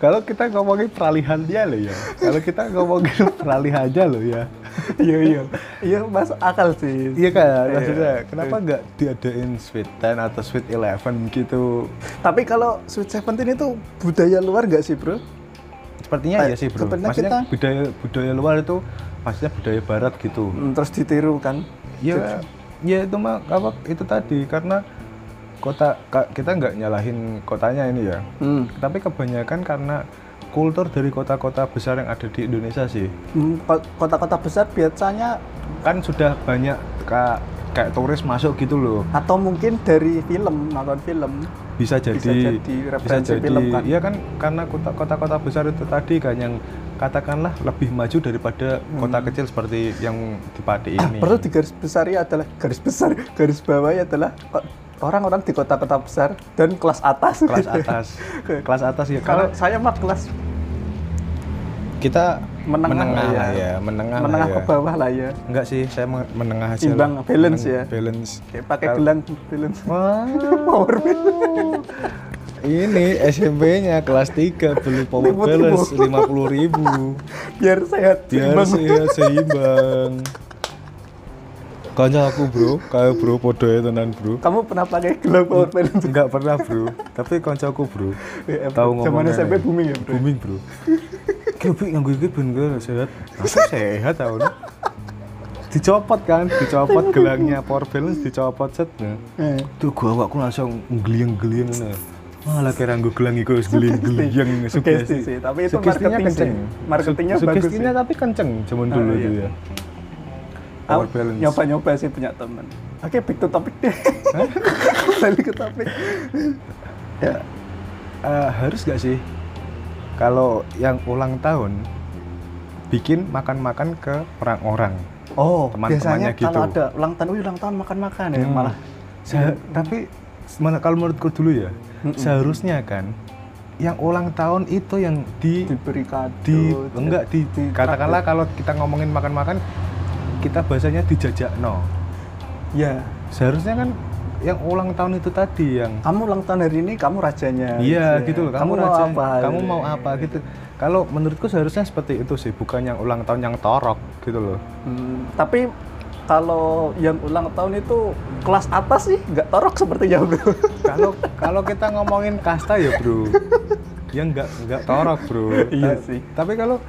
[SPEAKER 1] Kalau kita ngomongin peralihan dia loh ya. Kalau kita ngomongin peralihan aja loh ya.
[SPEAKER 2] Iya, iya. Iya, masuk akal sih.
[SPEAKER 1] Iya kan, maksudnya kenapa nggak diadain Sweet Ten atau Sweet Eleven gitu?
[SPEAKER 2] Tapi kalau Sweet Seventeen itu budaya luar nggak sih, Bro?
[SPEAKER 1] Sepertinya
[SPEAKER 2] Eh,
[SPEAKER 1] ya sih bro.
[SPEAKER 2] sebenarnya
[SPEAKER 1] Maksudnya
[SPEAKER 2] kita-
[SPEAKER 1] budaya budaya luar itu maksudnya budaya Barat gitu.
[SPEAKER 2] Hmm, Terus ditiru kan?
[SPEAKER 1] Ya, ya itu mah apa itu tadi karena kota ka- kita nggak nyalahin kotanya ini ya.
[SPEAKER 2] Hmm.
[SPEAKER 1] Tapi kebanyakan karena kultur dari kota-kota besar yang ada di Indonesia sih.
[SPEAKER 2] Hmm, ko- Kota-kota besar biasanya
[SPEAKER 1] Kan sudah banyak ka- kayak turis masuk gitu loh.
[SPEAKER 2] atau mungkin dari film nonton film
[SPEAKER 1] Bisa jadi
[SPEAKER 2] Bisa jadi referensi film kan.
[SPEAKER 1] Iya kan karena kota- kota-kota besar itu tadi kan yang katakanlah lebih maju daripada kota kecil seperti yang di Pati ini.
[SPEAKER 2] Hmm. Ah, perlu di garis besarnya adalah garis besar garis bawahnya adalah ko- orang-orang di kota-kota besar dan kelas atas
[SPEAKER 1] kelas atas kelas atas ya
[SPEAKER 2] kalau
[SPEAKER 1] kalau
[SPEAKER 2] saya mah kelas
[SPEAKER 1] kita
[SPEAKER 2] Menengah lah
[SPEAKER 1] lah
[SPEAKER 2] ya.
[SPEAKER 1] ya menengah, lah
[SPEAKER 2] menengah
[SPEAKER 1] ya.
[SPEAKER 2] ke bawah lah ya
[SPEAKER 1] enggak sih saya men- menengah aja
[SPEAKER 2] Imbang,
[SPEAKER 1] lah.
[SPEAKER 2] balance
[SPEAKER 1] Meneng-
[SPEAKER 2] ya.
[SPEAKER 1] balance
[SPEAKER 2] Kayak pakai
[SPEAKER 1] Kalau-
[SPEAKER 2] gelang film
[SPEAKER 1] wah
[SPEAKER 2] power
[SPEAKER 1] ini SMP nya kelas 3 beli power
[SPEAKER 2] Ribut-ribut.
[SPEAKER 1] balance 50 ribu
[SPEAKER 2] biar sehat
[SPEAKER 1] biar
[SPEAKER 2] seimbang.
[SPEAKER 1] sehat seimbang Kayaknya aku bro, kayak bro podo ya tenan bro
[SPEAKER 2] kamu pernah pakai gelang power
[SPEAKER 1] Hmm.
[SPEAKER 2] balance
[SPEAKER 1] Enggak pernah bro, tapi koncoku bro Tahu
[SPEAKER 2] Ya,
[SPEAKER 1] Hmm. ngomong
[SPEAKER 2] zaman
[SPEAKER 1] nenek.
[SPEAKER 2] SMP booming ya bro
[SPEAKER 1] booming bro Kebik nganggo iki ben gue sehat aku sehat tau no. dicopot kan dicopot gelangnya power balance dicopot set nah.
[SPEAKER 2] Eh,
[SPEAKER 1] tuh gua awakku langsung ngeliang-ngeliang ngono malah kira nganggo gelang iku wis ngeliang-ngeliang
[SPEAKER 2] Sugesti sih, tapi itu marketing sih. Marketingnya bagus
[SPEAKER 1] sugestinya
[SPEAKER 2] sih.
[SPEAKER 1] tapi kenceng zaman
[SPEAKER 2] Ah,
[SPEAKER 1] dulu
[SPEAKER 2] iya.
[SPEAKER 1] itu ya
[SPEAKER 2] Aku
[SPEAKER 1] power balance
[SPEAKER 2] nyoba-nyoba sih punya temen oke back to topic deh balik ke topik ya
[SPEAKER 1] Eh, harus gak sih kalau yang ulang tahun bikin makan-makan ke orang-orang
[SPEAKER 2] Oh,
[SPEAKER 1] Teman-temannya
[SPEAKER 2] biasanya kalau
[SPEAKER 1] gitu.
[SPEAKER 2] ada ulang tahun, "Wih, ulang tahun makan-makan ya
[SPEAKER 1] Hmm.
[SPEAKER 2] malah.
[SPEAKER 1] Se- tapi mana kalau menurutku dulu ya, seharusnya kan yang ulang tahun itu yang di
[SPEAKER 2] Diberi kado.
[SPEAKER 1] di
[SPEAKER 2] Oh, di-
[SPEAKER 1] enggak di,
[SPEAKER 2] di-
[SPEAKER 1] katakanlah kalau kita ngomongin makan-makan kita bahasanya dijajak no.
[SPEAKER 2] Ya,
[SPEAKER 1] Seharusnya kan yang ulang tahun itu tadi yang
[SPEAKER 2] Kamu ulang tahun hari ini, kamu rajanya.
[SPEAKER 1] Iya gitu loh. Kamu,
[SPEAKER 2] Kamu, mau
[SPEAKER 1] raja,
[SPEAKER 2] apa?
[SPEAKER 1] Kamu mau apa gitu. Kalau menurutku seharusnya seperti itu sih, bukan yang ulang tahun yang torok gitu loh.
[SPEAKER 2] Hmm, tapi kalau yang ulang tahun itu kelas atas sih nggak torok sepertinya bro.
[SPEAKER 1] Kalau kalau kita ngomongin kasta ya bro, ya nggak nggak torok bro.
[SPEAKER 2] Iya
[SPEAKER 1] Ta-
[SPEAKER 2] sih.
[SPEAKER 1] Tapi kalau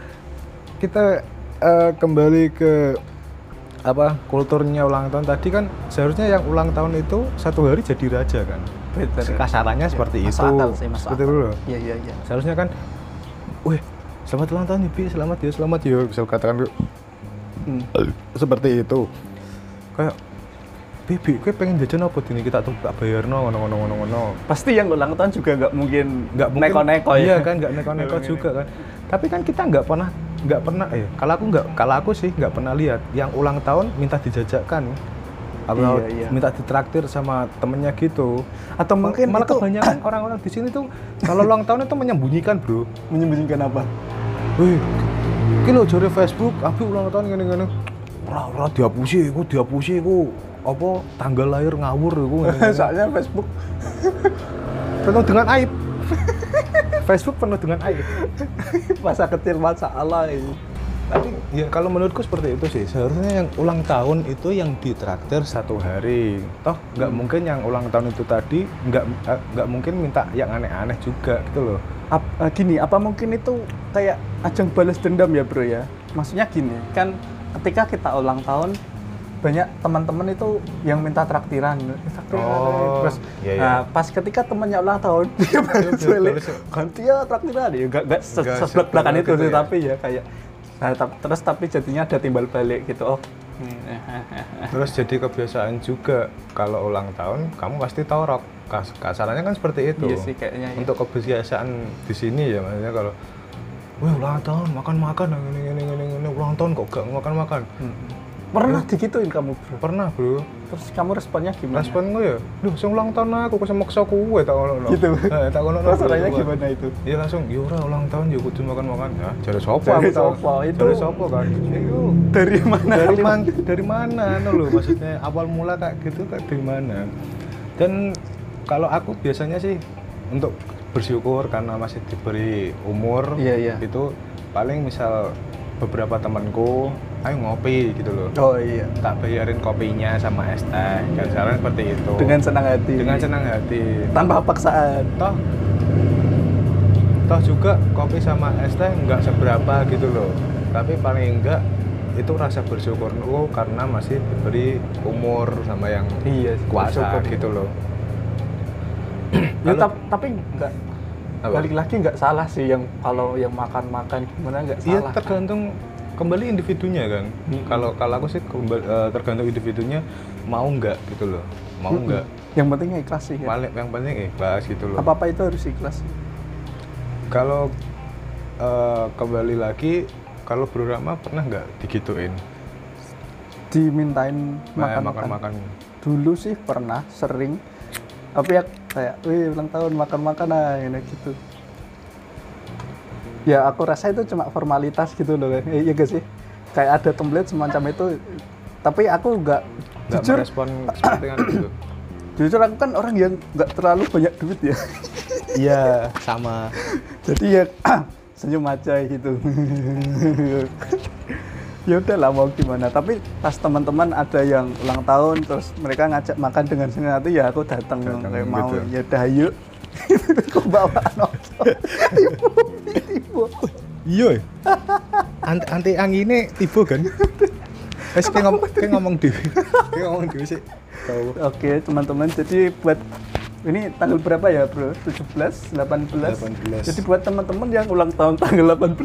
[SPEAKER 1] kita eh, kembali ke apa kulturnya ulang tahun tadi kan seharusnya yang ulang tahun itu satu hari jadi raja kan.
[SPEAKER 2] Betul. Iya.
[SPEAKER 1] Kasarannya seperti itu.
[SPEAKER 2] Masuk akal sih, masuk
[SPEAKER 1] Seperti itu loh.
[SPEAKER 2] Iya iya iya.
[SPEAKER 1] seharusnya kan weh selamat ulang tahun Yubi selamat ya selamat ya bisa katakan gitu.
[SPEAKER 2] Hmm.
[SPEAKER 1] seperti itu kayak Bibi, gue pengen jajan apa ini kita tuh tak bayar no, ngono ngono ngono ngono.
[SPEAKER 2] Pasti yang ulang tahun juga nggak mungkin
[SPEAKER 1] Nggak mungkin.
[SPEAKER 2] neko-neko
[SPEAKER 1] Iya
[SPEAKER 2] ya.
[SPEAKER 1] kan, nggak neko-neko juga kan. Tapi kan kita nggak pernah, nggak pernah. Eh, kalau aku nggak, kalau aku sih nggak pernah lihat yang ulang tahun minta dijajakan, atau
[SPEAKER 2] Iya, iya.
[SPEAKER 1] minta ditraktir sama temennya gitu.
[SPEAKER 2] Atau mungkin
[SPEAKER 1] malah
[SPEAKER 2] itu
[SPEAKER 1] kebanyakan orang-orang di sini tuh kalau ulang tahun itu menyembunyikan bro.
[SPEAKER 2] menyembunyikan apa?
[SPEAKER 1] Wih, iki lho jare Facebook, aku ulang tahun ngene-ngene. Ora ora dihapusi, iku dihapusi iku apa tanggal lahir ngawur iku ngene.
[SPEAKER 2] Soalnya Facebook
[SPEAKER 1] penuh dengan aib. Facebook penuh dengan aib.
[SPEAKER 2] masa kecil masa Allah ini.
[SPEAKER 1] Tapi ya kalau menurutku seperti itu sih. Seharusnya yang ulang tahun itu yang ditraktir satu hari. Toh nggak
[SPEAKER 2] Hmm.
[SPEAKER 1] mungkin yang ulang tahun itu tadi nggak eh, nggak mungkin minta yang aneh-aneh juga gitu loh.
[SPEAKER 2] Ap- eh, gini, apa mungkin itu kayak ajang balas dendam ya bro ya? Maksudnya gini, kan ketika kita ulang tahun banyak teman-teman itu yang minta traktiran, traktiran.
[SPEAKER 1] Oh,
[SPEAKER 2] terus
[SPEAKER 1] iya, iya.
[SPEAKER 2] nah, pas ketika temannya ulang tahun dia balas
[SPEAKER 1] dia
[SPEAKER 2] balik,
[SPEAKER 1] balas.
[SPEAKER 2] ganti ya traktiran ya, gak
[SPEAKER 1] Nggak
[SPEAKER 2] gak seblak belakan itu
[SPEAKER 1] seblak-belakan
[SPEAKER 2] sih,
[SPEAKER 1] gitu ya.
[SPEAKER 2] tapi ya kayak nah, tap- terus tapi jadinya ada timbal balik gitu oh
[SPEAKER 1] Terus jadi kebiasaan juga kalau ulang tahun kamu pasti torok. Kas- Kasarannya kan seperti itu.
[SPEAKER 2] Iya sih, kayaknya iya.
[SPEAKER 1] Untuk kebiasaan di sini ya maksudnya kalau Wih ulang tahun makan makan ini ini ini ini ulang tahun kok gak makan makan
[SPEAKER 2] Hmm. pernah digituin kamu bro
[SPEAKER 1] pernah bro
[SPEAKER 2] terus kamu responnya gimana
[SPEAKER 1] respon gue ya duh saya ulang tahun aku kok saya maksa gue tak ngono no.
[SPEAKER 2] Gitu.
[SPEAKER 1] Eh, tak ngono no,
[SPEAKER 2] Terus orangnya
[SPEAKER 1] gitu,
[SPEAKER 2] gimana itu?
[SPEAKER 1] iya langsung ya ora ulang tahun ya kudu makan makan ya jare sopo
[SPEAKER 2] Jare
[SPEAKER 1] aku tahu.
[SPEAKER 2] sopo, itu- Nah.
[SPEAKER 1] jare sopo kan Iku.
[SPEAKER 2] dari mana
[SPEAKER 1] dari
[SPEAKER 2] kalimat?
[SPEAKER 1] mana dari mana anu loh maksudnya awal mula kayak gitu kayak dari mana dan kalau aku biasanya sih untuk bersyukur karena masih diberi umur
[SPEAKER 2] Iya, iya.
[SPEAKER 1] itu paling misal beberapa temanku ayo ngopi gitu loh
[SPEAKER 2] oh iya
[SPEAKER 1] tak bayarin kopinya sama es teh kan saran seperti itu
[SPEAKER 2] dengan senang hati
[SPEAKER 1] dengan senang hati
[SPEAKER 2] tanpa paksaan
[SPEAKER 1] toh toh juga kopi sama es teh nggak seberapa gitu loh tapi paling enggak itu rasa bersyukurku karena masih diberi umur sama yang
[SPEAKER 2] Iya,
[SPEAKER 1] kuasa
[SPEAKER 2] bersyukur.
[SPEAKER 1] gitu loh
[SPEAKER 2] Ya,
[SPEAKER 1] Kalau-
[SPEAKER 2] tap- tapi nggak
[SPEAKER 1] Apa?
[SPEAKER 2] balik lagi nggak salah sih yang kalau yang makan-makan gimana nggak
[SPEAKER 1] Iya
[SPEAKER 2] salah.
[SPEAKER 1] tergantung kembali individunya kan. Kalau kalau aku sih kembali, eh, tergantung individunya mau nggak gitu loh. Mau nggak.
[SPEAKER 2] Yang penting ikhlas sih. Ya.
[SPEAKER 1] Paling yang penting ikhlas gitu loh.
[SPEAKER 2] Apa apa itu harus ikhlas.
[SPEAKER 1] Kalau eh, kembali lagi kalau Bro Rama pernah nggak digituin?
[SPEAKER 2] Dimintain
[SPEAKER 1] Nah,
[SPEAKER 2] makan-makan.
[SPEAKER 1] makan-makan.
[SPEAKER 2] Dulu sih pernah sering. Tapi ya kayak, wih ulang tahun makan-makan nah ini gitu. Ya aku rasa itu cuma formalitas gitu loh. Ya, iya gak sih? Kayak ada template semacam itu. Tapi aku nggak
[SPEAKER 1] nggak
[SPEAKER 2] jujur
[SPEAKER 1] merespon seperti kan itu
[SPEAKER 2] jujur aku kan orang yang nggak terlalu banyak duit ya
[SPEAKER 1] iya sama
[SPEAKER 2] jadi ya senyum aja gitu ya udah lah mau gimana tapi pas teman-teman ada yang ulang tahun terus mereka ngajak makan dengan senang hati ya aku datang
[SPEAKER 1] Datang
[SPEAKER 2] kayak mau
[SPEAKER 1] gitu.
[SPEAKER 2] ya udah yuk kok bawaan opo tipu tipu
[SPEAKER 1] iya anti anti angine tiba kan Wes kayak ngomong kayak ngomong dewi kayak ngomong dewi sih tahu
[SPEAKER 2] oke teman-teman jadi buat ini tanggal berapa ya bro 17 18
[SPEAKER 1] 18.
[SPEAKER 2] jadi buat teman-teman yang ulang tahun tanggal 18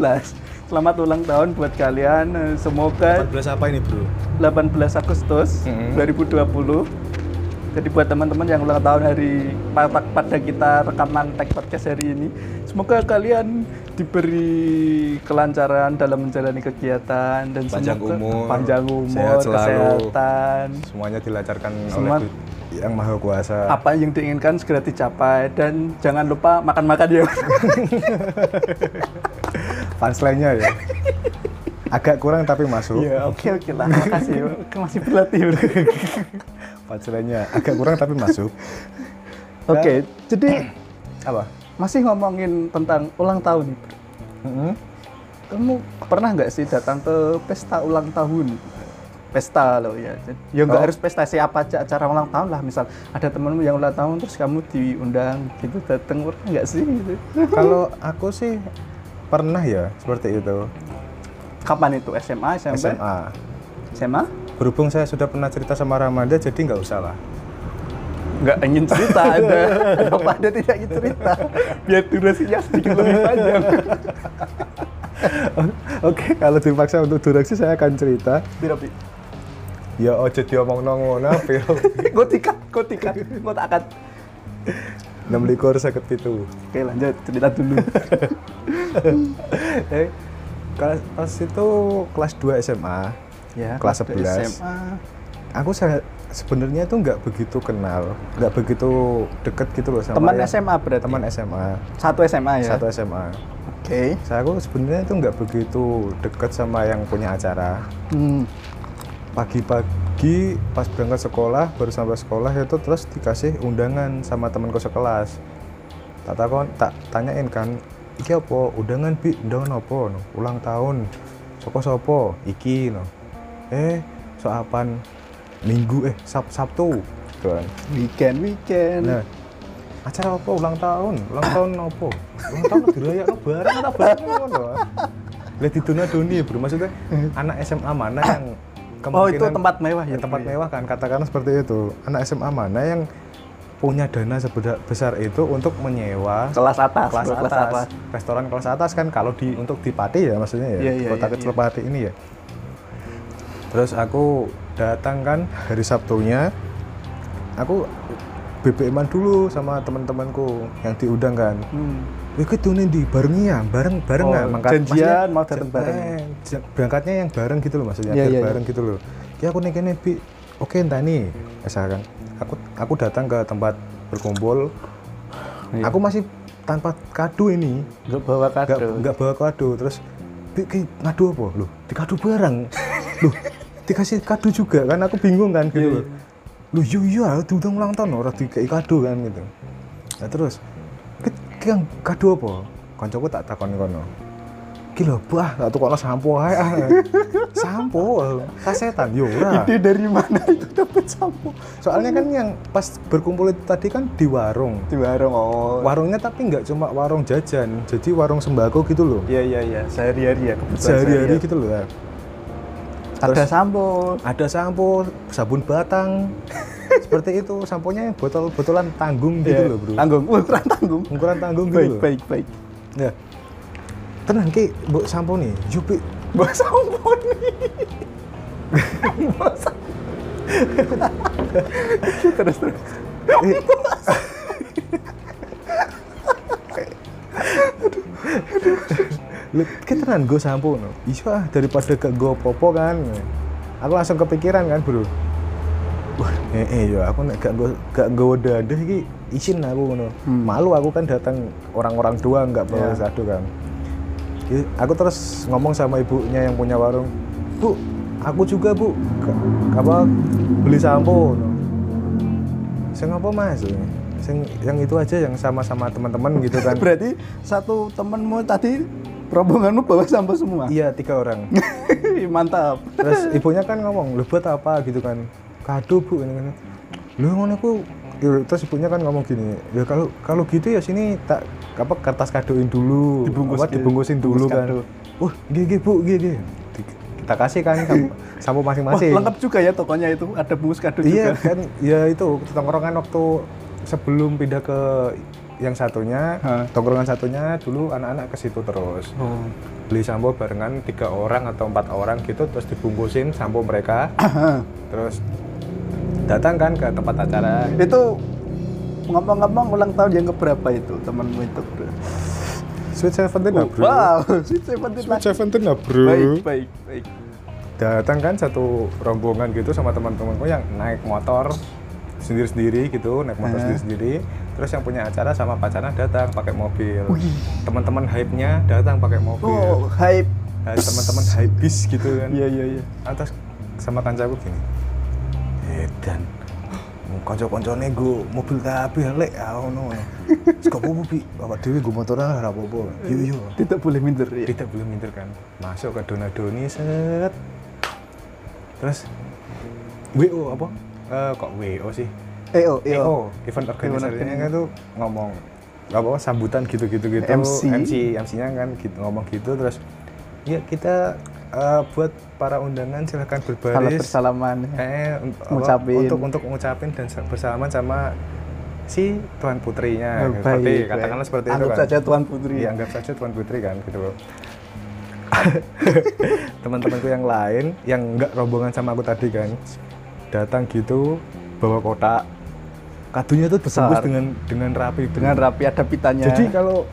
[SPEAKER 2] selamat ulang tahun buat kalian Eh, semoga
[SPEAKER 1] 14 apa ini bro
[SPEAKER 2] 18 Agustus
[SPEAKER 1] Mhm.
[SPEAKER 2] 2020. Jadi buat teman-teman yang ulang tahun hari pada, pada kita rekaman tag podcast hari ini, semoga kalian diberi kelancaran dalam menjalani kegiatan dan
[SPEAKER 1] Panjang
[SPEAKER 2] semoga
[SPEAKER 1] umur,
[SPEAKER 2] panjang umur,
[SPEAKER 1] sehat selalu.
[SPEAKER 2] kesehatan,
[SPEAKER 1] semuanya dilancarkan
[SPEAKER 2] Semua-
[SPEAKER 1] oleh Du- yang maha kuasa
[SPEAKER 2] apa yang diinginkan segera dicapai dan jangan lupa makan-makan ya.
[SPEAKER 1] punchline-nya ya agak kurang tapi masuk
[SPEAKER 2] Ya, Iya, oke oke lah. Makasih. Masih berlatih. Bro.
[SPEAKER 3] Pacelannya agak kurang tapi masuk.
[SPEAKER 2] Oke, jadi
[SPEAKER 3] Apa?
[SPEAKER 2] masih ngomongin tentang ulang tahun nih. Bro.
[SPEAKER 3] Mm-mm.
[SPEAKER 2] Kamu pernah nggak sih datang ke pesta ulang tahun? Pesta loh ya. Ya nggak
[SPEAKER 3] Oh.
[SPEAKER 2] harus pesta siapa aja acara ulang tahun lah. Misal ada temanmu yang ulang tahun terus kamu diundang gitu datang pernah nggak sih? Gitu.
[SPEAKER 3] Kalau aku sih pernah ya seperti itu
[SPEAKER 2] Kapan itu SMA, SMP?
[SPEAKER 3] SMA.
[SPEAKER 2] SMA?
[SPEAKER 3] Berhubung saya sudah pernah cerita sama Ramanda jadi nggak usah lah.
[SPEAKER 2] Nggak ingin cerita Anda. Kenapa Anda tidak ingin cerita? Biar durasinya sedikit lebih panjang.
[SPEAKER 3] Oke, kalau dipaksa untuk durasi saya akan cerita.
[SPEAKER 2] Tidak, Bi.
[SPEAKER 3] Ya ojo diomong ngono apa ya.
[SPEAKER 2] Gue tikat, gue tikat, gue tak akan.
[SPEAKER 3] 26 sakit itu.
[SPEAKER 2] Oke lanjut, cerita dulu.
[SPEAKER 3] Eh, kelas pas itu kelas 2 SMA.
[SPEAKER 2] ya,
[SPEAKER 3] Kelas
[SPEAKER 2] waktu
[SPEAKER 3] 11.
[SPEAKER 2] SMA.
[SPEAKER 3] Aku saya sebenarnya itu nggak begitu kenal, nggak begitu deket gitu loh sama
[SPEAKER 2] Teman
[SPEAKER 3] yang-
[SPEAKER 2] SMA berarti.
[SPEAKER 3] teman SMA,
[SPEAKER 2] satu SMA ya.
[SPEAKER 3] satu SMA.
[SPEAKER 2] Oke.
[SPEAKER 3] Saya aku sebenarnya itu nggak begitu deket sama yang punya acara.
[SPEAKER 2] Hmm.
[SPEAKER 3] Pagi-pagi pas berangkat sekolah, baru sampai sekolah itu terus dikasih undangan sama temanku sekelas. Tak takon, tak tanyain kan, iki apa undangan bi undangan apa no? ulang tahun soko sopo iki no eh soapan minggu eh sab sabtu gitu kan
[SPEAKER 2] Weekend, weekend.
[SPEAKER 3] Nah, acara apa ulang tahun? Ulang tahun apa? Ulang tahun dirayakno bareng ta bareng ngono. Lah di dunia doni bro, maksudnya anak SMA mana yang
[SPEAKER 2] oh itu tempat mewah ya.
[SPEAKER 3] ya, tempat
[SPEAKER 2] Bu, ya?
[SPEAKER 3] mewah kan katakanlah seperti itu. Anak SMA mana yang punya dana sebesar itu untuk menyewa
[SPEAKER 2] Kelas atas.
[SPEAKER 3] kelas
[SPEAKER 2] bro,
[SPEAKER 3] atas, restoran kelas atas kan kalau di untuk di Pati ya maksudnya ya
[SPEAKER 2] Iya, iya,
[SPEAKER 3] kota
[SPEAKER 2] iya,
[SPEAKER 3] kecil Pati ini ya terus aku datang kan hari Sabtunya aku BBM-an dulu sama teman-temanku yang diundang kan
[SPEAKER 2] Hmm.
[SPEAKER 3] Wih, itu nih di bareng ya, bareng bareng
[SPEAKER 2] Oh,
[SPEAKER 3] nggak? Mangkat-
[SPEAKER 2] janjian,
[SPEAKER 3] maksudnya-
[SPEAKER 2] mau datang
[SPEAKER 3] jan-
[SPEAKER 2] bareng.
[SPEAKER 3] eh, jan- berangkatnya yang bareng gitu loh maksudnya,
[SPEAKER 2] Iya,
[SPEAKER 3] biar
[SPEAKER 2] iya, iya.
[SPEAKER 3] bareng gitu loh. Ya aku nih kene bi, oke entah nih, misalkan. Aku aku datang ke tempat berkumpul.
[SPEAKER 2] Iya.
[SPEAKER 3] Aku masih tanpa kado ini,
[SPEAKER 2] Gak bawa
[SPEAKER 3] nggak
[SPEAKER 2] kado.
[SPEAKER 3] nggak bawa kado. Terus bi ki, ngadu apa? Loh, dikado bareng. Loh, dikasih kado juga kan? Aku bingung kan gitu loh. Loh, iya iya, diundang ulang tahun orang dikasih kado kan gitu. Nah terus, yang kado apa? Kancaku tak takon kono. Ki lho, bah, tak tukokno sampo ae. ah." sampo, kasetan yo ora.
[SPEAKER 2] Ide dari mana itu dapat sampo?
[SPEAKER 3] Soalnya kan yang pas berkumpul itu tadi kan di warung.
[SPEAKER 2] Di warung oh.
[SPEAKER 3] Warungnya tapi nggak cuma warung jajan, jadi warung sembako gitu loh.
[SPEAKER 2] Iya iya iya. Sehari-hari ya kebetulan.
[SPEAKER 3] Sehari-hari
[SPEAKER 2] sehari-hari.
[SPEAKER 3] gitu loh. ya.
[SPEAKER 2] Ada sampo.
[SPEAKER 3] Ada sampo, sabun batang. seperti itu, samponya yang botol-botolan tanggung gitu
[SPEAKER 2] Iya.
[SPEAKER 3] loh, Bro.
[SPEAKER 2] Tanggung, ukuran tanggung.
[SPEAKER 3] Ukuran tanggung gitu
[SPEAKER 2] Baik
[SPEAKER 3] loh.
[SPEAKER 2] baik baik.
[SPEAKER 3] Ya. Tenang Ki, mbok sampo nih. Yo, Pi.
[SPEAKER 2] Bawa sampo nih. Bawa sampo. terus terus.
[SPEAKER 3] Lu kita tenan gue sampo no. Iya ah, daripada ke gue popo kan. Aku langsung kepikiran kan bro. Wah, eh, eh yo aku nek gak gue gak gue dadah iki izin aku ngono. Malu aku kan datang orang-orang doang nggak bawa
[SPEAKER 2] Hmm. Iya.
[SPEAKER 3] satu kan. Ya, aku terus ngomong sama ibunya yang punya warung. Bu, aku juga bu. Ke- Apa beli sampo. No. Sing apa mas? Sing, yang itu aja yang sama-sama teman-teman gitu kan.
[SPEAKER 2] Berarti satu temenmu tadi rombonganmu bawa sampo semua.
[SPEAKER 3] Iya tiga orang.
[SPEAKER 2] Mantap.
[SPEAKER 3] terus ibunya kan ngomong lu buat apa gitu kan kado bu ini kan lu ngono aku Ya, terus ibunya kan ngomong gini ya kalau kalau gitu ya sini tak apa kertas kadoin dulu
[SPEAKER 2] Dibungkus
[SPEAKER 3] apa,
[SPEAKER 2] gitu.
[SPEAKER 3] dibungkusin dulu
[SPEAKER 2] Bungkus
[SPEAKER 3] kan
[SPEAKER 2] kado.
[SPEAKER 3] wah gigi bu gigi kita kasih kan sam- sampo
[SPEAKER 2] Wah,
[SPEAKER 3] masing-masing
[SPEAKER 2] lengkap juga ya tokonya itu. Ada bungkus kado
[SPEAKER 3] iya
[SPEAKER 2] juga.
[SPEAKER 3] kan ya itu tongkrongan waktu sebelum pindah ke yang satunya
[SPEAKER 2] Hah.
[SPEAKER 3] tongkrongan satunya dulu anak-anak ke situ terus
[SPEAKER 2] Oh.
[SPEAKER 3] beli sampo barengan tiga orang atau empat orang gitu terus dibungkusin sampo mereka terus datang kan ke tempat acara
[SPEAKER 2] Itu ngomong-ngomong ulang tahun yang keberapa itu temenmu itu bro?
[SPEAKER 3] sweet seventeen lah bro
[SPEAKER 2] Wow, sweet seventeen lagi.
[SPEAKER 3] sweet seventeen lah bro
[SPEAKER 2] Baik, baik, baik.
[SPEAKER 3] datang kan satu rombongan gitu sama teman-temanku yang naik motor sendiri-sendiri gitu naik
[SPEAKER 2] Eh.
[SPEAKER 3] motor sendiri-sendiri terus yang punya acara sama pacarnya datang pakai mobil teman-teman hype-nya datang pakai
[SPEAKER 2] Oh, Iya.
[SPEAKER 3] mobil
[SPEAKER 2] hype.
[SPEAKER 3] Nah, teman-teman hype bis gitu kan
[SPEAKER 2] Iya, iya, iya.
[SPEAKER 3] atas sama kancaku gini Edan kanca-kancane nggo mobil kabeh lek ah ngono. Sego opo Bi? Bapak dhewe nggo motoran ora apa-apa. Iya, Yo yo.
[SPEAKER 2] Tidak boleh minder ya.
[SPEAKER 3] Tidak belum minder kan. Masuk ke Dona Doni set. Terus WO apa? Eh kok WO sih?
[SPEAKER 2] EO, EO.
[SPEAKER 3] EO, event organizer-nya oh. kan tuh ngomong nggak apa sambutan gitu-gitu gitu.
[SPEAKER 2] MC.
[SPEAKER 3] MC, MC-nya kan gitu ngomong gitu terus ya kita eh, buat para undangan silahkan
[SPEAKER 2] Salat
[SPEAKER 3] berbaris
[SPEAKER 2] bersalaman.
[SPEAKER 3] eh un- apa,
[SPEAKER 2] Ngucapin.
[SPEAKER 3] untuk untuk ngucapin dan sa- bersalaman sama si tuan putrinya
[SPEAKER 2] Oh, baik,
[SPEAKER 3] gitu. seperti
[SPEAKER 2] baik.
[SPEAKER 3] katakanlah seperti
[SPEAKER 2] Anggap
[SPEAKER 3] itu kan
[SPEAKER 2] saja Tuan Putri.
[SPEAKER 3] Iya, anggap saja tuan putri kan gitu loh teman-temanku yang lain yang nggak rombongan sama aku tadi kan datang gitu bawa kotak kadunya tuh
[SPEAKER 2] Besar.
[SPEAKER 3] besar dengan dengan rapi
[SPEAKER 2] Dengan rapi ada pitanya.
[SPEAKER 3] jadi kalau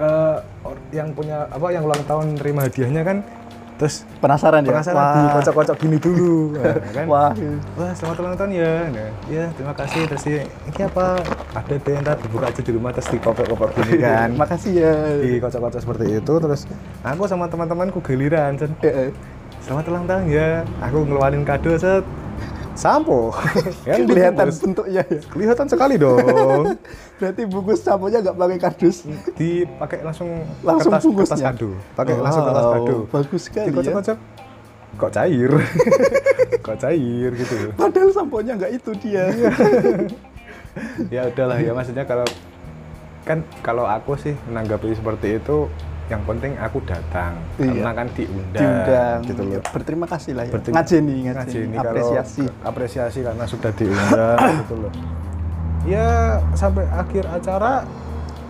[SPEAKER 3] eh, or- yang punya apa yang ulang tahun nerima hadiahnya kan terus
[SPEAKER 2] penasaran ya?
[SPEAKER 3] penasaran
[SPEAKER 2] Wah.
[SPEAKER 3] dikocok-kocok gini dulu Nah, kan?
[SPEAKER 2] Wah.
[SPEAKER 3] Wah, selamat ulang tahun ya. Nah, ya, terima kasih. Terus ya, ini apa? Ada deh, ntar dibuka aja di rumah terus dikopek-kopek gini kan.
[SPEAKER 2] Makasih ya.
[SPEAKER 3] Dikocok-kocok seperti itu, terus aku sama teman-temanku giliran. Set.
[SPEAKER 2] Eh, eh.
[SPEAKER 3] Selamat ulang tahun ya. Aku ngeluarin kado, set. Sampo. Yang
[SPEAKER 2] kelihatan
[SPEAKER 3] dibungkus.
[SPEAKER 2] bentuknya ya.
[SPEAKER 3] Kelihatan sekali dong.
[SPEAKER 2] Berarti bungkus sapunya nggak pakai kardus.
[SPEAKER 3] Hmm, Dipakai langsung,
[SPEAKER 2] Langsung
[SPEAKER 3] kertas, kertas
[SPEAKER 2] bungkusnya?
[SPEAKER 3] kado. Pakai langsung kertas
[SPEAKER 2] Wow,
[SPEAKER 3] kado.
[SPEAKER 2] Bagus sekali ya.
[SPEAKER 3] Dikocok-kocok. Kok cair? Kok cair gitu.
[SPEAKER 2] Padahal samponya nggak itu dia.
[SPEAKER 3] Iya. ya udahlah ya maksudnya kalau kan kalau aku sih menanggapi seperti itu yang penting aku datang
[SPEAKER 2] Iya.
[SPEAKER 3] karena kan diundang,
[SPEAKER 2] Diundang.
[SPEAKER 3] gitu
[SPEAKER 2] Ya,
[SPEAKER 3] loh
[SPEAKER 2] Berterima kasih lah ya.
[SPEAKER 3] Berarti-
[SPEAKER 2] ngajeni, ngajeni,
[SPEAKER 3] ngajeni kalau-
[SPEAKER 2] apresiasi.
[SPEAKER 3] apresiasi karena sudah diundang gitu loh ya sampai akhir acara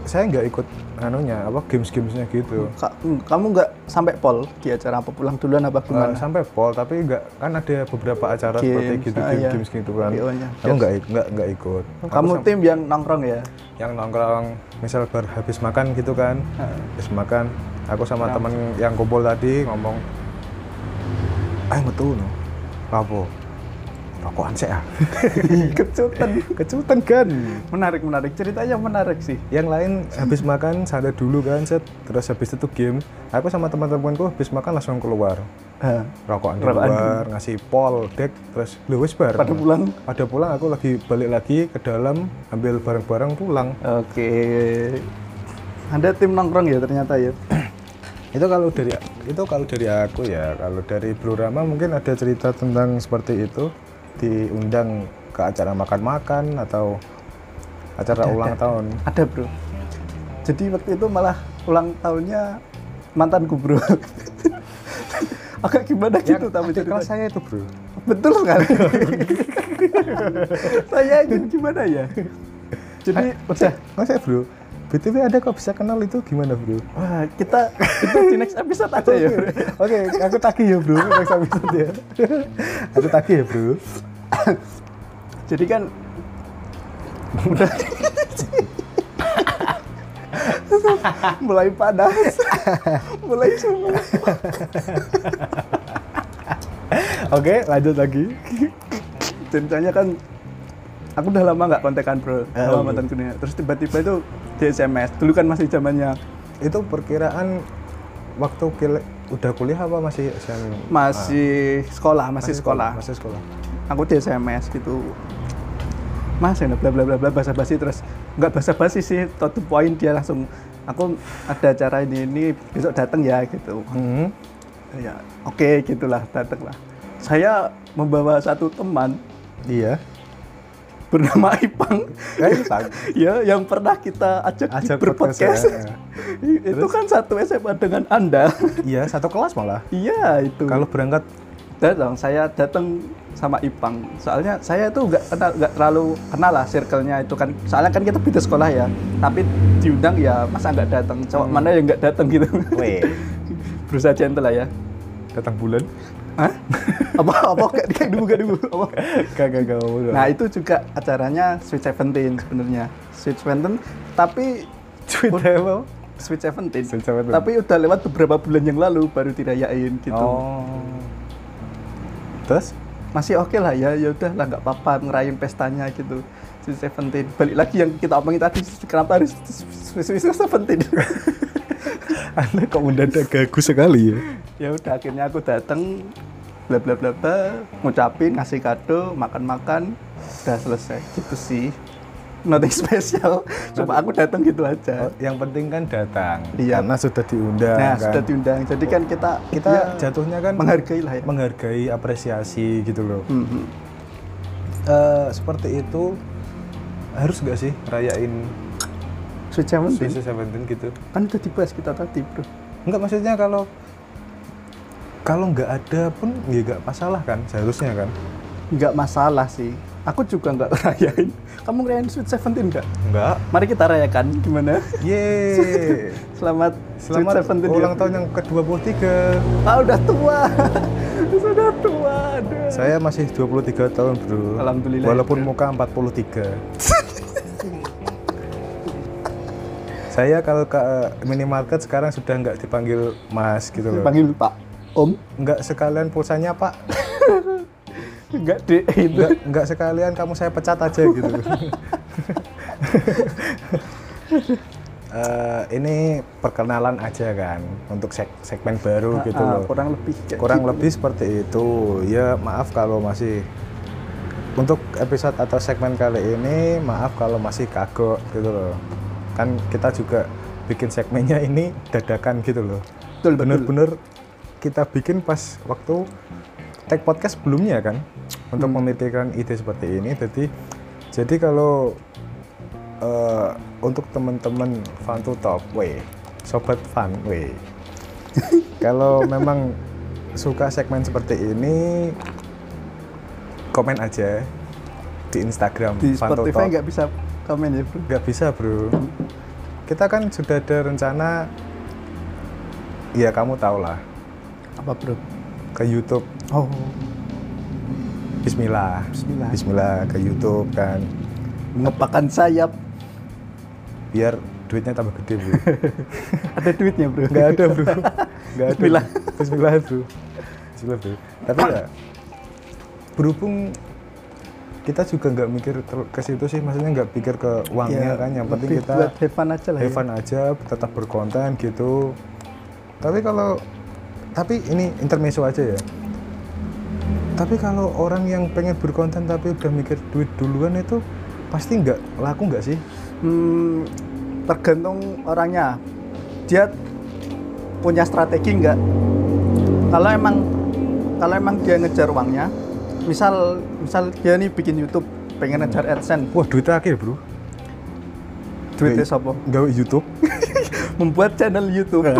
[SPEAKER 3] saya nggak ikut anunya apa games gamesnya gitu
[SPEAKER 2] Ka- hmm, kamu nggak sampai pol di acara apa pulang duluan apa
[SPEAKER 3] Eh,
[SPEAKER 2] gimana?
[SPEAKER 3] sampai pol tapi nggak kan ada beberapa acara seperti
[SPEAKER 2] Games,
[SPEAKER 3] gitu
[SPEAKER 2] ah,
[SPEAKER 3] game-
[SPEAKER 2] iya.
[SPEAKER 3] games gitu kan
[SPEAKER 2] VO-nya.
[SPEAKER 3] aku nggak ik- nggak nggak ikut Aku
[SPEAKER 2] kamu tim yang nongkrong ya?
[SPEAKER 3] yang nongkrong misal bar habis makan gitu kan
[SPEAKER 2] Ah.
[SPEAKER 3] habis makan aku sama temen yang kumpul tadi ngomong ayo metu no apa rokokan sih ah
[SPEAKER 2] Kecutan.
[SPEAKER 3] kecutan kan
[SPEAKER 2] Menarik, menarik. Ceritanya menarik sih.
[SPEAKER 3] yang lain habis makan santai dulu kan set terus habis itu game aku sama teman-temanku habis makan langsung keluar Eh.
[SPEAKER 2] Ha.
[SPEAKER 3] rokokan di
[SPEAKER 2] Rokokan
[SPEAKER 3] luar ngasih pol dek terus lu wis bar
[SPEAKER 2] Pada pulang.
[SPEAKER 3] pada pulang aku lagi balik lagi ke dalam ambil barang-barang pulang
[SPEAKER 2] Oke. Anda tim nongkrong ya ternyata ya.
[SPEAKER 3] itu kalau dari itu kalau dari aku ya kalau dari Bro Rama mungkin ada cerita tentang seperti itu diundang ke acara makan-makan atau acara ulang tahun
[SPEAKER 2] Ada bro. Jadi waktu itu malah ulang tahunnya mantanku bro. Agak gimana gitu tapi
[SPEAKER 3] Ya, Adik
[SPEAKER 2] ceritanya.
[SPEAKER 3] kelas saya itu bro
[SPEAKER 2] Betul sekali. saya ingin gimana ya? Jadi
[SPEAKER 3] Ah,
[SPEAKER 2] udah.
[SPEAKER 3] nggak saya bro btw ada kok bisa kenal itu gimana bro
[SPEAKER 2] Wah, kita kita di next episode aja ya.
[SPEAKER 3] oke aku tagih ya bro next episode ya aku tagih ya bro
[SPEAKER 2] Jadi kan udah mulai panas, mulai semua.
[SPEAKER 3] oke lanjut lagi
[SPEAKER 2] ceritanya kan aku udah lama nggak kontekan bro
[SPEAKER 3] iya.
[SPEAKER 2] sama mantan kuliah terus tiba-tiba itu di SMS dulu kan masih zamannya
[SPEAKER 3] itu perkiraan waktu kil- udah kuliah apa masih SMA?
[SPEAKER 2] masih sekolah masih, sekolah,
[SPEAKER 3] Ah. masih sekolah
[SPEAKER 2] aku di SMS gitu mas ya bla bla bla bla basa basi terus nggak basa basi sih to the point dia langsung aku ada acara ini ini besok datang ya gitu
[SPEAKER 3] Mhm.
[SPEAKER 2] ya oke gitulah datang lah saya membawa satu teman
[SPEAKER 3] iya
[SPEAKER 2] bernama Ipang
[SPEAKER 3] Eh, Pak.
[SPEAKER 2] ya yang pernah kita ajak,
[SPEAKER 3] Ajak
[SPEAKER 2] di berpodcast
[SPEAKER 3] podcast ya.
[SPEAKER 2] itu kan satu SMA dengan anda
[SPEAKER 3] Iya, satu kelas malah.
[SPEAKER 2] iya itu
[SPEAKER 3] Kalau berangkat
[SPEAKER 2] datang saya datang sama Ipang soalnya saya tuh nggak kenal nggak terlalu kenal lah circle-nya itu kan soalnya kan kita beda sekolah ya tapi diundang ya masa nggak datang cowok mana yang nggak datang gitu
[SPEAKER 3] Weh.
[SPEAKER 2] berusaha gentle lah ya
[SPEAKER 3] datang bulan.
[SPEAKER 2] Hah? apa apa kayak kayak dulu kayak dulu apa
[SPEAKER 3] Kagak gak mau.
[SPEAKER 2] Nah itu juga acaranya Sweet Seventeen sebenarnya Sweet Seventeen tapi
[SPEAKER 3] Twitter apa?
[SPEAKER 2] Sweet Seventeen
[SPEAKER 3] Sweet Seventeen.
[SPEAKER 2] tapi udah lewat beberapa bulan yang lalu baru dirayain gitu
[SPEAKER 3] Oh. Terus
[SPEAKER 2] masih oke lah ya ya udah lah nggak apa-apa ngerayain pestanya gitu Sweet Seventeen balik lagi yang kita omongin tadi kenapa harus Sweet Sweet Seventeen
[SPEAKER 3] Anda kok mendadak gagus sekali ya?
[SPEAKER 2] ya udah akhirnya aku datang bla bla bla bla ngucapin ngasih kado makan makan udah selesai gitu sih nothing spesial cuma aku datang gitu aja
[SPEAKER 3] yang penting kan datang
[SPEAKER 2] Iya.
[SPEAKER 3] karena sudah diundang
[SPEAKER 2] nah
[SPEAKER 3] kan.
[SPEAKER 2] sudah diundang jadi kan kita
[SPEAKER 3] kita
[SPEAKER 2] ya,
[SPEAKER 3] jatuhnya kan
[SPEAKER 2] menghargai lah ya
[SPEAKER 3] menghargai apresiasi gitu loh
[SPEAKER 2] Mhm.
[SPEAKER 3] Eh, seperti itu harus nggak sih rayain
[SPEAKER 2] Switch Seventeen.
[SPEAKER 3] Suicide Seventeen gitu
[SPEAKER 2] kan udah dibahas kita tadi bro
[SPEAKER 3] Enggak maksudnya kalau kalau nggak ada pun ya nggak masalah kan seharusnya kan
[SPEAKER 2] nggak masalah sih aku juga nggak rayain kamu ngerayain Sweet Seventeen nggak
[SPEAKER 3] nggak
[SPEAKER 2] mari kita rayakan gimana
[SPEAKER 3] ye
[SPEAKER 2] selamat, Sweet
[SPEAKER 3] Iya. selamat
[SPEAKER 2] Seventeen ya.
[SPEAKER 3] ulang tahun yang ke-23
[SPEAKER 2] ah udah tua sudah tua aduh
[SPEAKER 3] saya masih 23 tahun bro
[SPEAKER 2] Alhamdulillah, ya,
[SPEAKER 3] walaupun muka 43 saya kalau ke eh, minimarket sekarang sudah nggak dipanggil mas gitu loh
[SPEAKER 2] panggil Pak Om
[SPEAKER 3] nggak sekalian pulsanya pak
[SPEAKER 2] nggak deh itu
[SPEAKER 3] nggak nggak sekalian kamu saya pecat aja gitu Eh, ini perkenalan aja kan untuk seg- segmen baru gitu
[SPEAKER 2] Ah,
[SPEAKER 3] loh
[SPEAKER 2] kurang lebih kayak
[SPEAKER 3] kurang
[SPEAKER 2] gitu.
[SPEAKER 3] lebih seperti itu ya maaf kalau masih untuk episode atau segmen kali ini maaf kalau masih kagok gitu loh kan kita juga bikin segmennya ini dadakan gitu loh
[SPEAKER 2] Betul, betul.
[SPEAKER 3] bener-bener kita bikin pas waktu tag podcast sebelumnya kan untuk
[SPEAKER 2] Hmm.
[SPEAKER 3] memikirkan ide seperti ini jadi jadi kalau eh, untuk teman-teman fan to top weh sobat fan weh kalau memang suka segmen seperti ini komen aja di Instagram
[SPEAKER 2] di
[SPEAKER 3] Fan to
[SPEAKER 2] Spotify
[SPEAKER 3] Talk.
[SPEAKER 2] nggak bisa komen ya bro
[SPEAKER 3] nggak bisa bro kita kan sudah ada rencana ya kamu tau lah
[SPEAKER 2] apa bro
[SPEAKER 3] ke YouTube
[SPEAKER 2] oh
[SPEAKER 3] Bismillah
[SPEAKER 2] Bismillah.
[SPEAKER 3] Bismillah ke YouTube kan
[SPEAKER 2] mengepakan sayap
[SPEAKER 3] biar duitnya tambah gede bro
[SPEAKER 2] ada duitnya bro
[SPEAKER 3] nggak ada bro nggak ada
[SPEAKER 2] Bismillah.
[SPEAKER 3] Bismillah bro Bismillah bro tapi ya berhubung kita juga nggak mikir ter- ke situ sih maksudnya nggak pikir ke uangnya kan yang penting
[SPEAKER 2] Ya, lebih
[SPEAKER 3] kita
[SPEAKER 2] buat have fun aja lah ya.
[SPEAKER 3] have fun aja tetap berkonten gitu tapi kalau tapi ini intermezzo aja ya tapi kalau orang yang pengen berkonten tapi udah mikir duit duluan itu pasti nggak laku nggak sih
[SPEAKER 2] Hmm, tergantung orangnya. Dia punya strategi nggak? Kalau emang kalau emang dia ngejar uangnya, misal misal dia nih bikin YouTube pengen ngejar AdSense,
[SPEAKER 3] wah duit terakhir bro
[SPEAKER 2] duitnya
[SPEAKER 3] Nggak-
[SPEAKER 2] sopo?
[SPEAKER 3] nggak YouTube
[SPEAKER 2] Membuat channel YouTube.
[SPEAKER 3] Nah,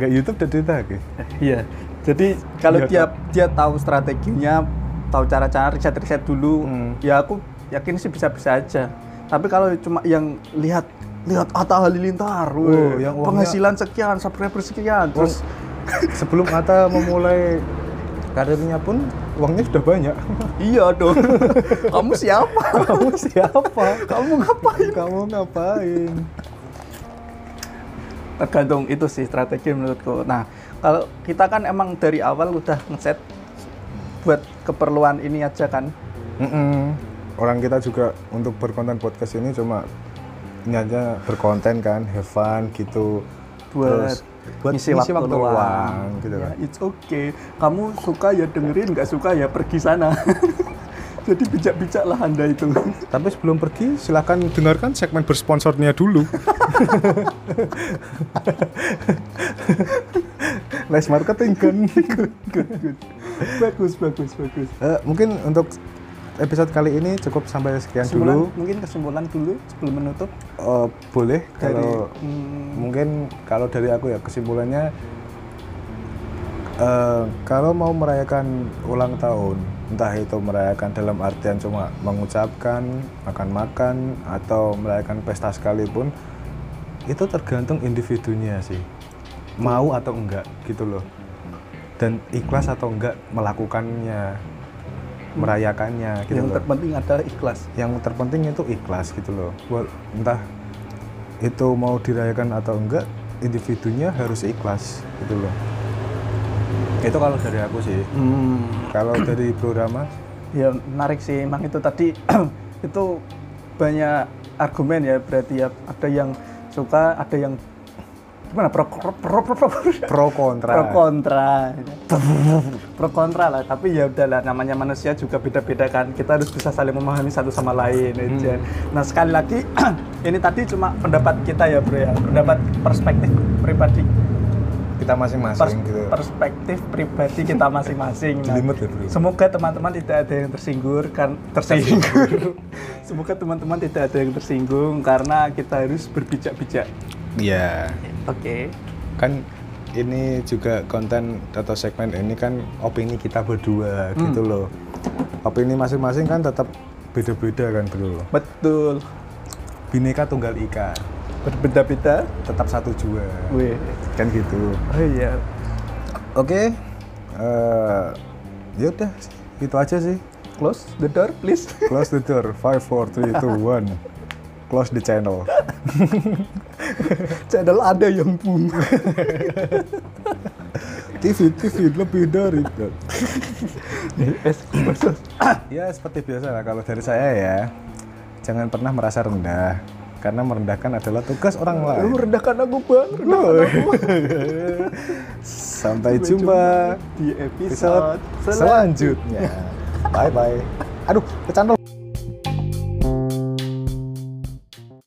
[SPEAKER 3] nggak YouTube dan duit terakhir
[SPEAKER 2] Iya. Jadi kalau
[SPEAKER 3] Iya,
[SPEAKER 2] dia dia tahu strateginya, tahu cara-cara riset-riset dulu,
[SPEAKER 3] Hmm.
[SPEAKER 2] ya aku yakin sih bisa-bisa aja. Tapi kalau cuma yang lihat lihat Atta Halilintar,
[SPEAKER 3] Wow,
[SPEAKER 2] weh,
[SPEAKER 3] yang uangnya-
[SPEAKER 2] penghasilan sekian, subscriber sekian, terus
[SPEAKER 3] sebelum Atta memulai karirnya pun uangnya sudah banyak
[SPEAKER 2] iya dong. Kamu siapa?
[SPEAKER 3] kamu siapa
[SPEAKER 2] Kamu ngapain?
[SPEAKER 3] kamu ngapain
[SPEAKER 2] Tergantung itu sih strategi menurutku. Nah, kalau kita kan emang dari awal udah ngeset buat keperluan ini aja kan.
[SPEAKER 3] Mm-mm. Orang kita juga untuk berkonten podcast ini cuma niatnya berkonten kan, have fun gitu.
[SPEAKER 2] buat
[SPEAKER 3] Terus buat
[SPEAKER 2] ngisi waktu, luang,
[SPEAKER 3] gitu
[SPEAKER 2] ya,
[SPEAKER 3] kan.
[SPEAKER 2] it's okay kamu suka ya dengerin nggak suka ya pergi sana jadi bijak-bijak lah anda itu
[SPEAKER 3] Tapi sebelum pergi silahkan dengarkan segmen bersponsornya dulu. Les marketing kan.
[SPEAKER 2] good good bagus bagus bagus
[SPEAKER 3] Eh, mungkin untuk episode kali ini cukup sampai sekian
[SPEAKER 2] Kesimpulan,
[SPEAKER 3] dulu.
[SPEAKER 2] mungkin kesimpulan dulu sebelum menutup
[SPEAKER 3] Eh, boleh
[SPEAKER 2] dari
[SPEAKER 3] kalau
[SPEAKER 2] hmm,
[SPEAKER 3] mungkin kalau dari aku ya kesimpulannya eh, kalau mau merayakan ulang tahun entah itu merayakan dalam artian cuma mengucapkan makan-makan atau merayakan pesta sekalipun itu tergantung individunya sih mau atau enggak gitu loh dan ikhlas atau enggak melakukannya merayakannya gitu
[SPEAKER 2] yang
[SPEAKER 3] loh
[SPEAKER 2] terpenting adalah ikhlas
[SPEAKER 3] yang terpenting itu ikhlas gitu loh Wal- entah itu mau dirayakan atau enggak individunya harus ikhlas gitu loh itu kalau dari aku sih
[SPEAKER 2] Hmm,
[SPEAKER 3] kalau dari Bro Rama
[SPEAKER 2] ya menarik sih emang itu tadi itu banyak argumen ya berarti ya ada yang suka ada yang gimana pro pro pro pro, pro-
[SPEAKER 3] pro kontra
[SPEAKER 2] pro kontra pro kontra lah tapi ya udahlah namanya manusia juga beda-beda kan kita harus bisa saling memahami satu sama lain aja.
[SPEAKER 3] Hmm.
[SPEAKER 2] nah sekali lagi ini tadi cuma pendapat kita ya bro ya pendapat perspektif pribadi
[SPEAKER 3] kita
[SPEAKER 2] pers-
[SPEAKER 3] masing-masing gitu
[SPEAKER 2] perspektif pribadi kita masing-masing Nah,
[SPEAKER 3] Jelimet ya, Bro.
[SPEAKER 2] semoga teman-teman tidak ada yang tersinggur kan tersinggur semoga teman-teman tidak ada yang tersinggung karena kita harus berbijak-bijak
[SPEAKER 3] iya
[SPEAKER 2] oke
[SPEAKER 3] kan ini juga konten atau segmen ini kan opini kita berdua
[SPEAKER 2] Hmm.
[SPEAKER 3] gitu loh opini masing-masing kan tetap beda-beda kan bro
[SPEAKER 2] betul
[SPEAKER 3] bineka tunggal ika
[SPEAKER 2] berbeda-beda
[SPEAKER 3] tetap satu jua
[SPEAKER 2] Wih.
[SPEAKER 3] kan gitu
[SPEAKER 2] oh iya
[SPEAKER 3] Oke, eh, yaudah itu aja sih.
[SPEAKER 2] close the door please
[SPEAKER 3] Close the door. Five, four, three, two, one. Close the channel.
[SPEAKER 2] channel ada yang bunga
[SPEAKER 3] TV, TV lebih dari.
[SPEAKER 2] es khusus.
[SPEAKER 3] ya seperti biasa lah kalau dari saya ya. Jangan pernah merasa rendah, karena merendahkan adalah tugas
[SPEAKER 2] Lu
[SPEAKER 3] orang lain.
[SPEAKER 2] rendahkan aku bang rendahkan aku
[SPEAKER 3] Sampai jumpa
[SPEAKER 2] di
[SPEAKER 3] episode
[SPEAKER 2] episode selanjutnya
[SPEAKER 3] selanjutnya. Bye bye. Aduh, kecantol.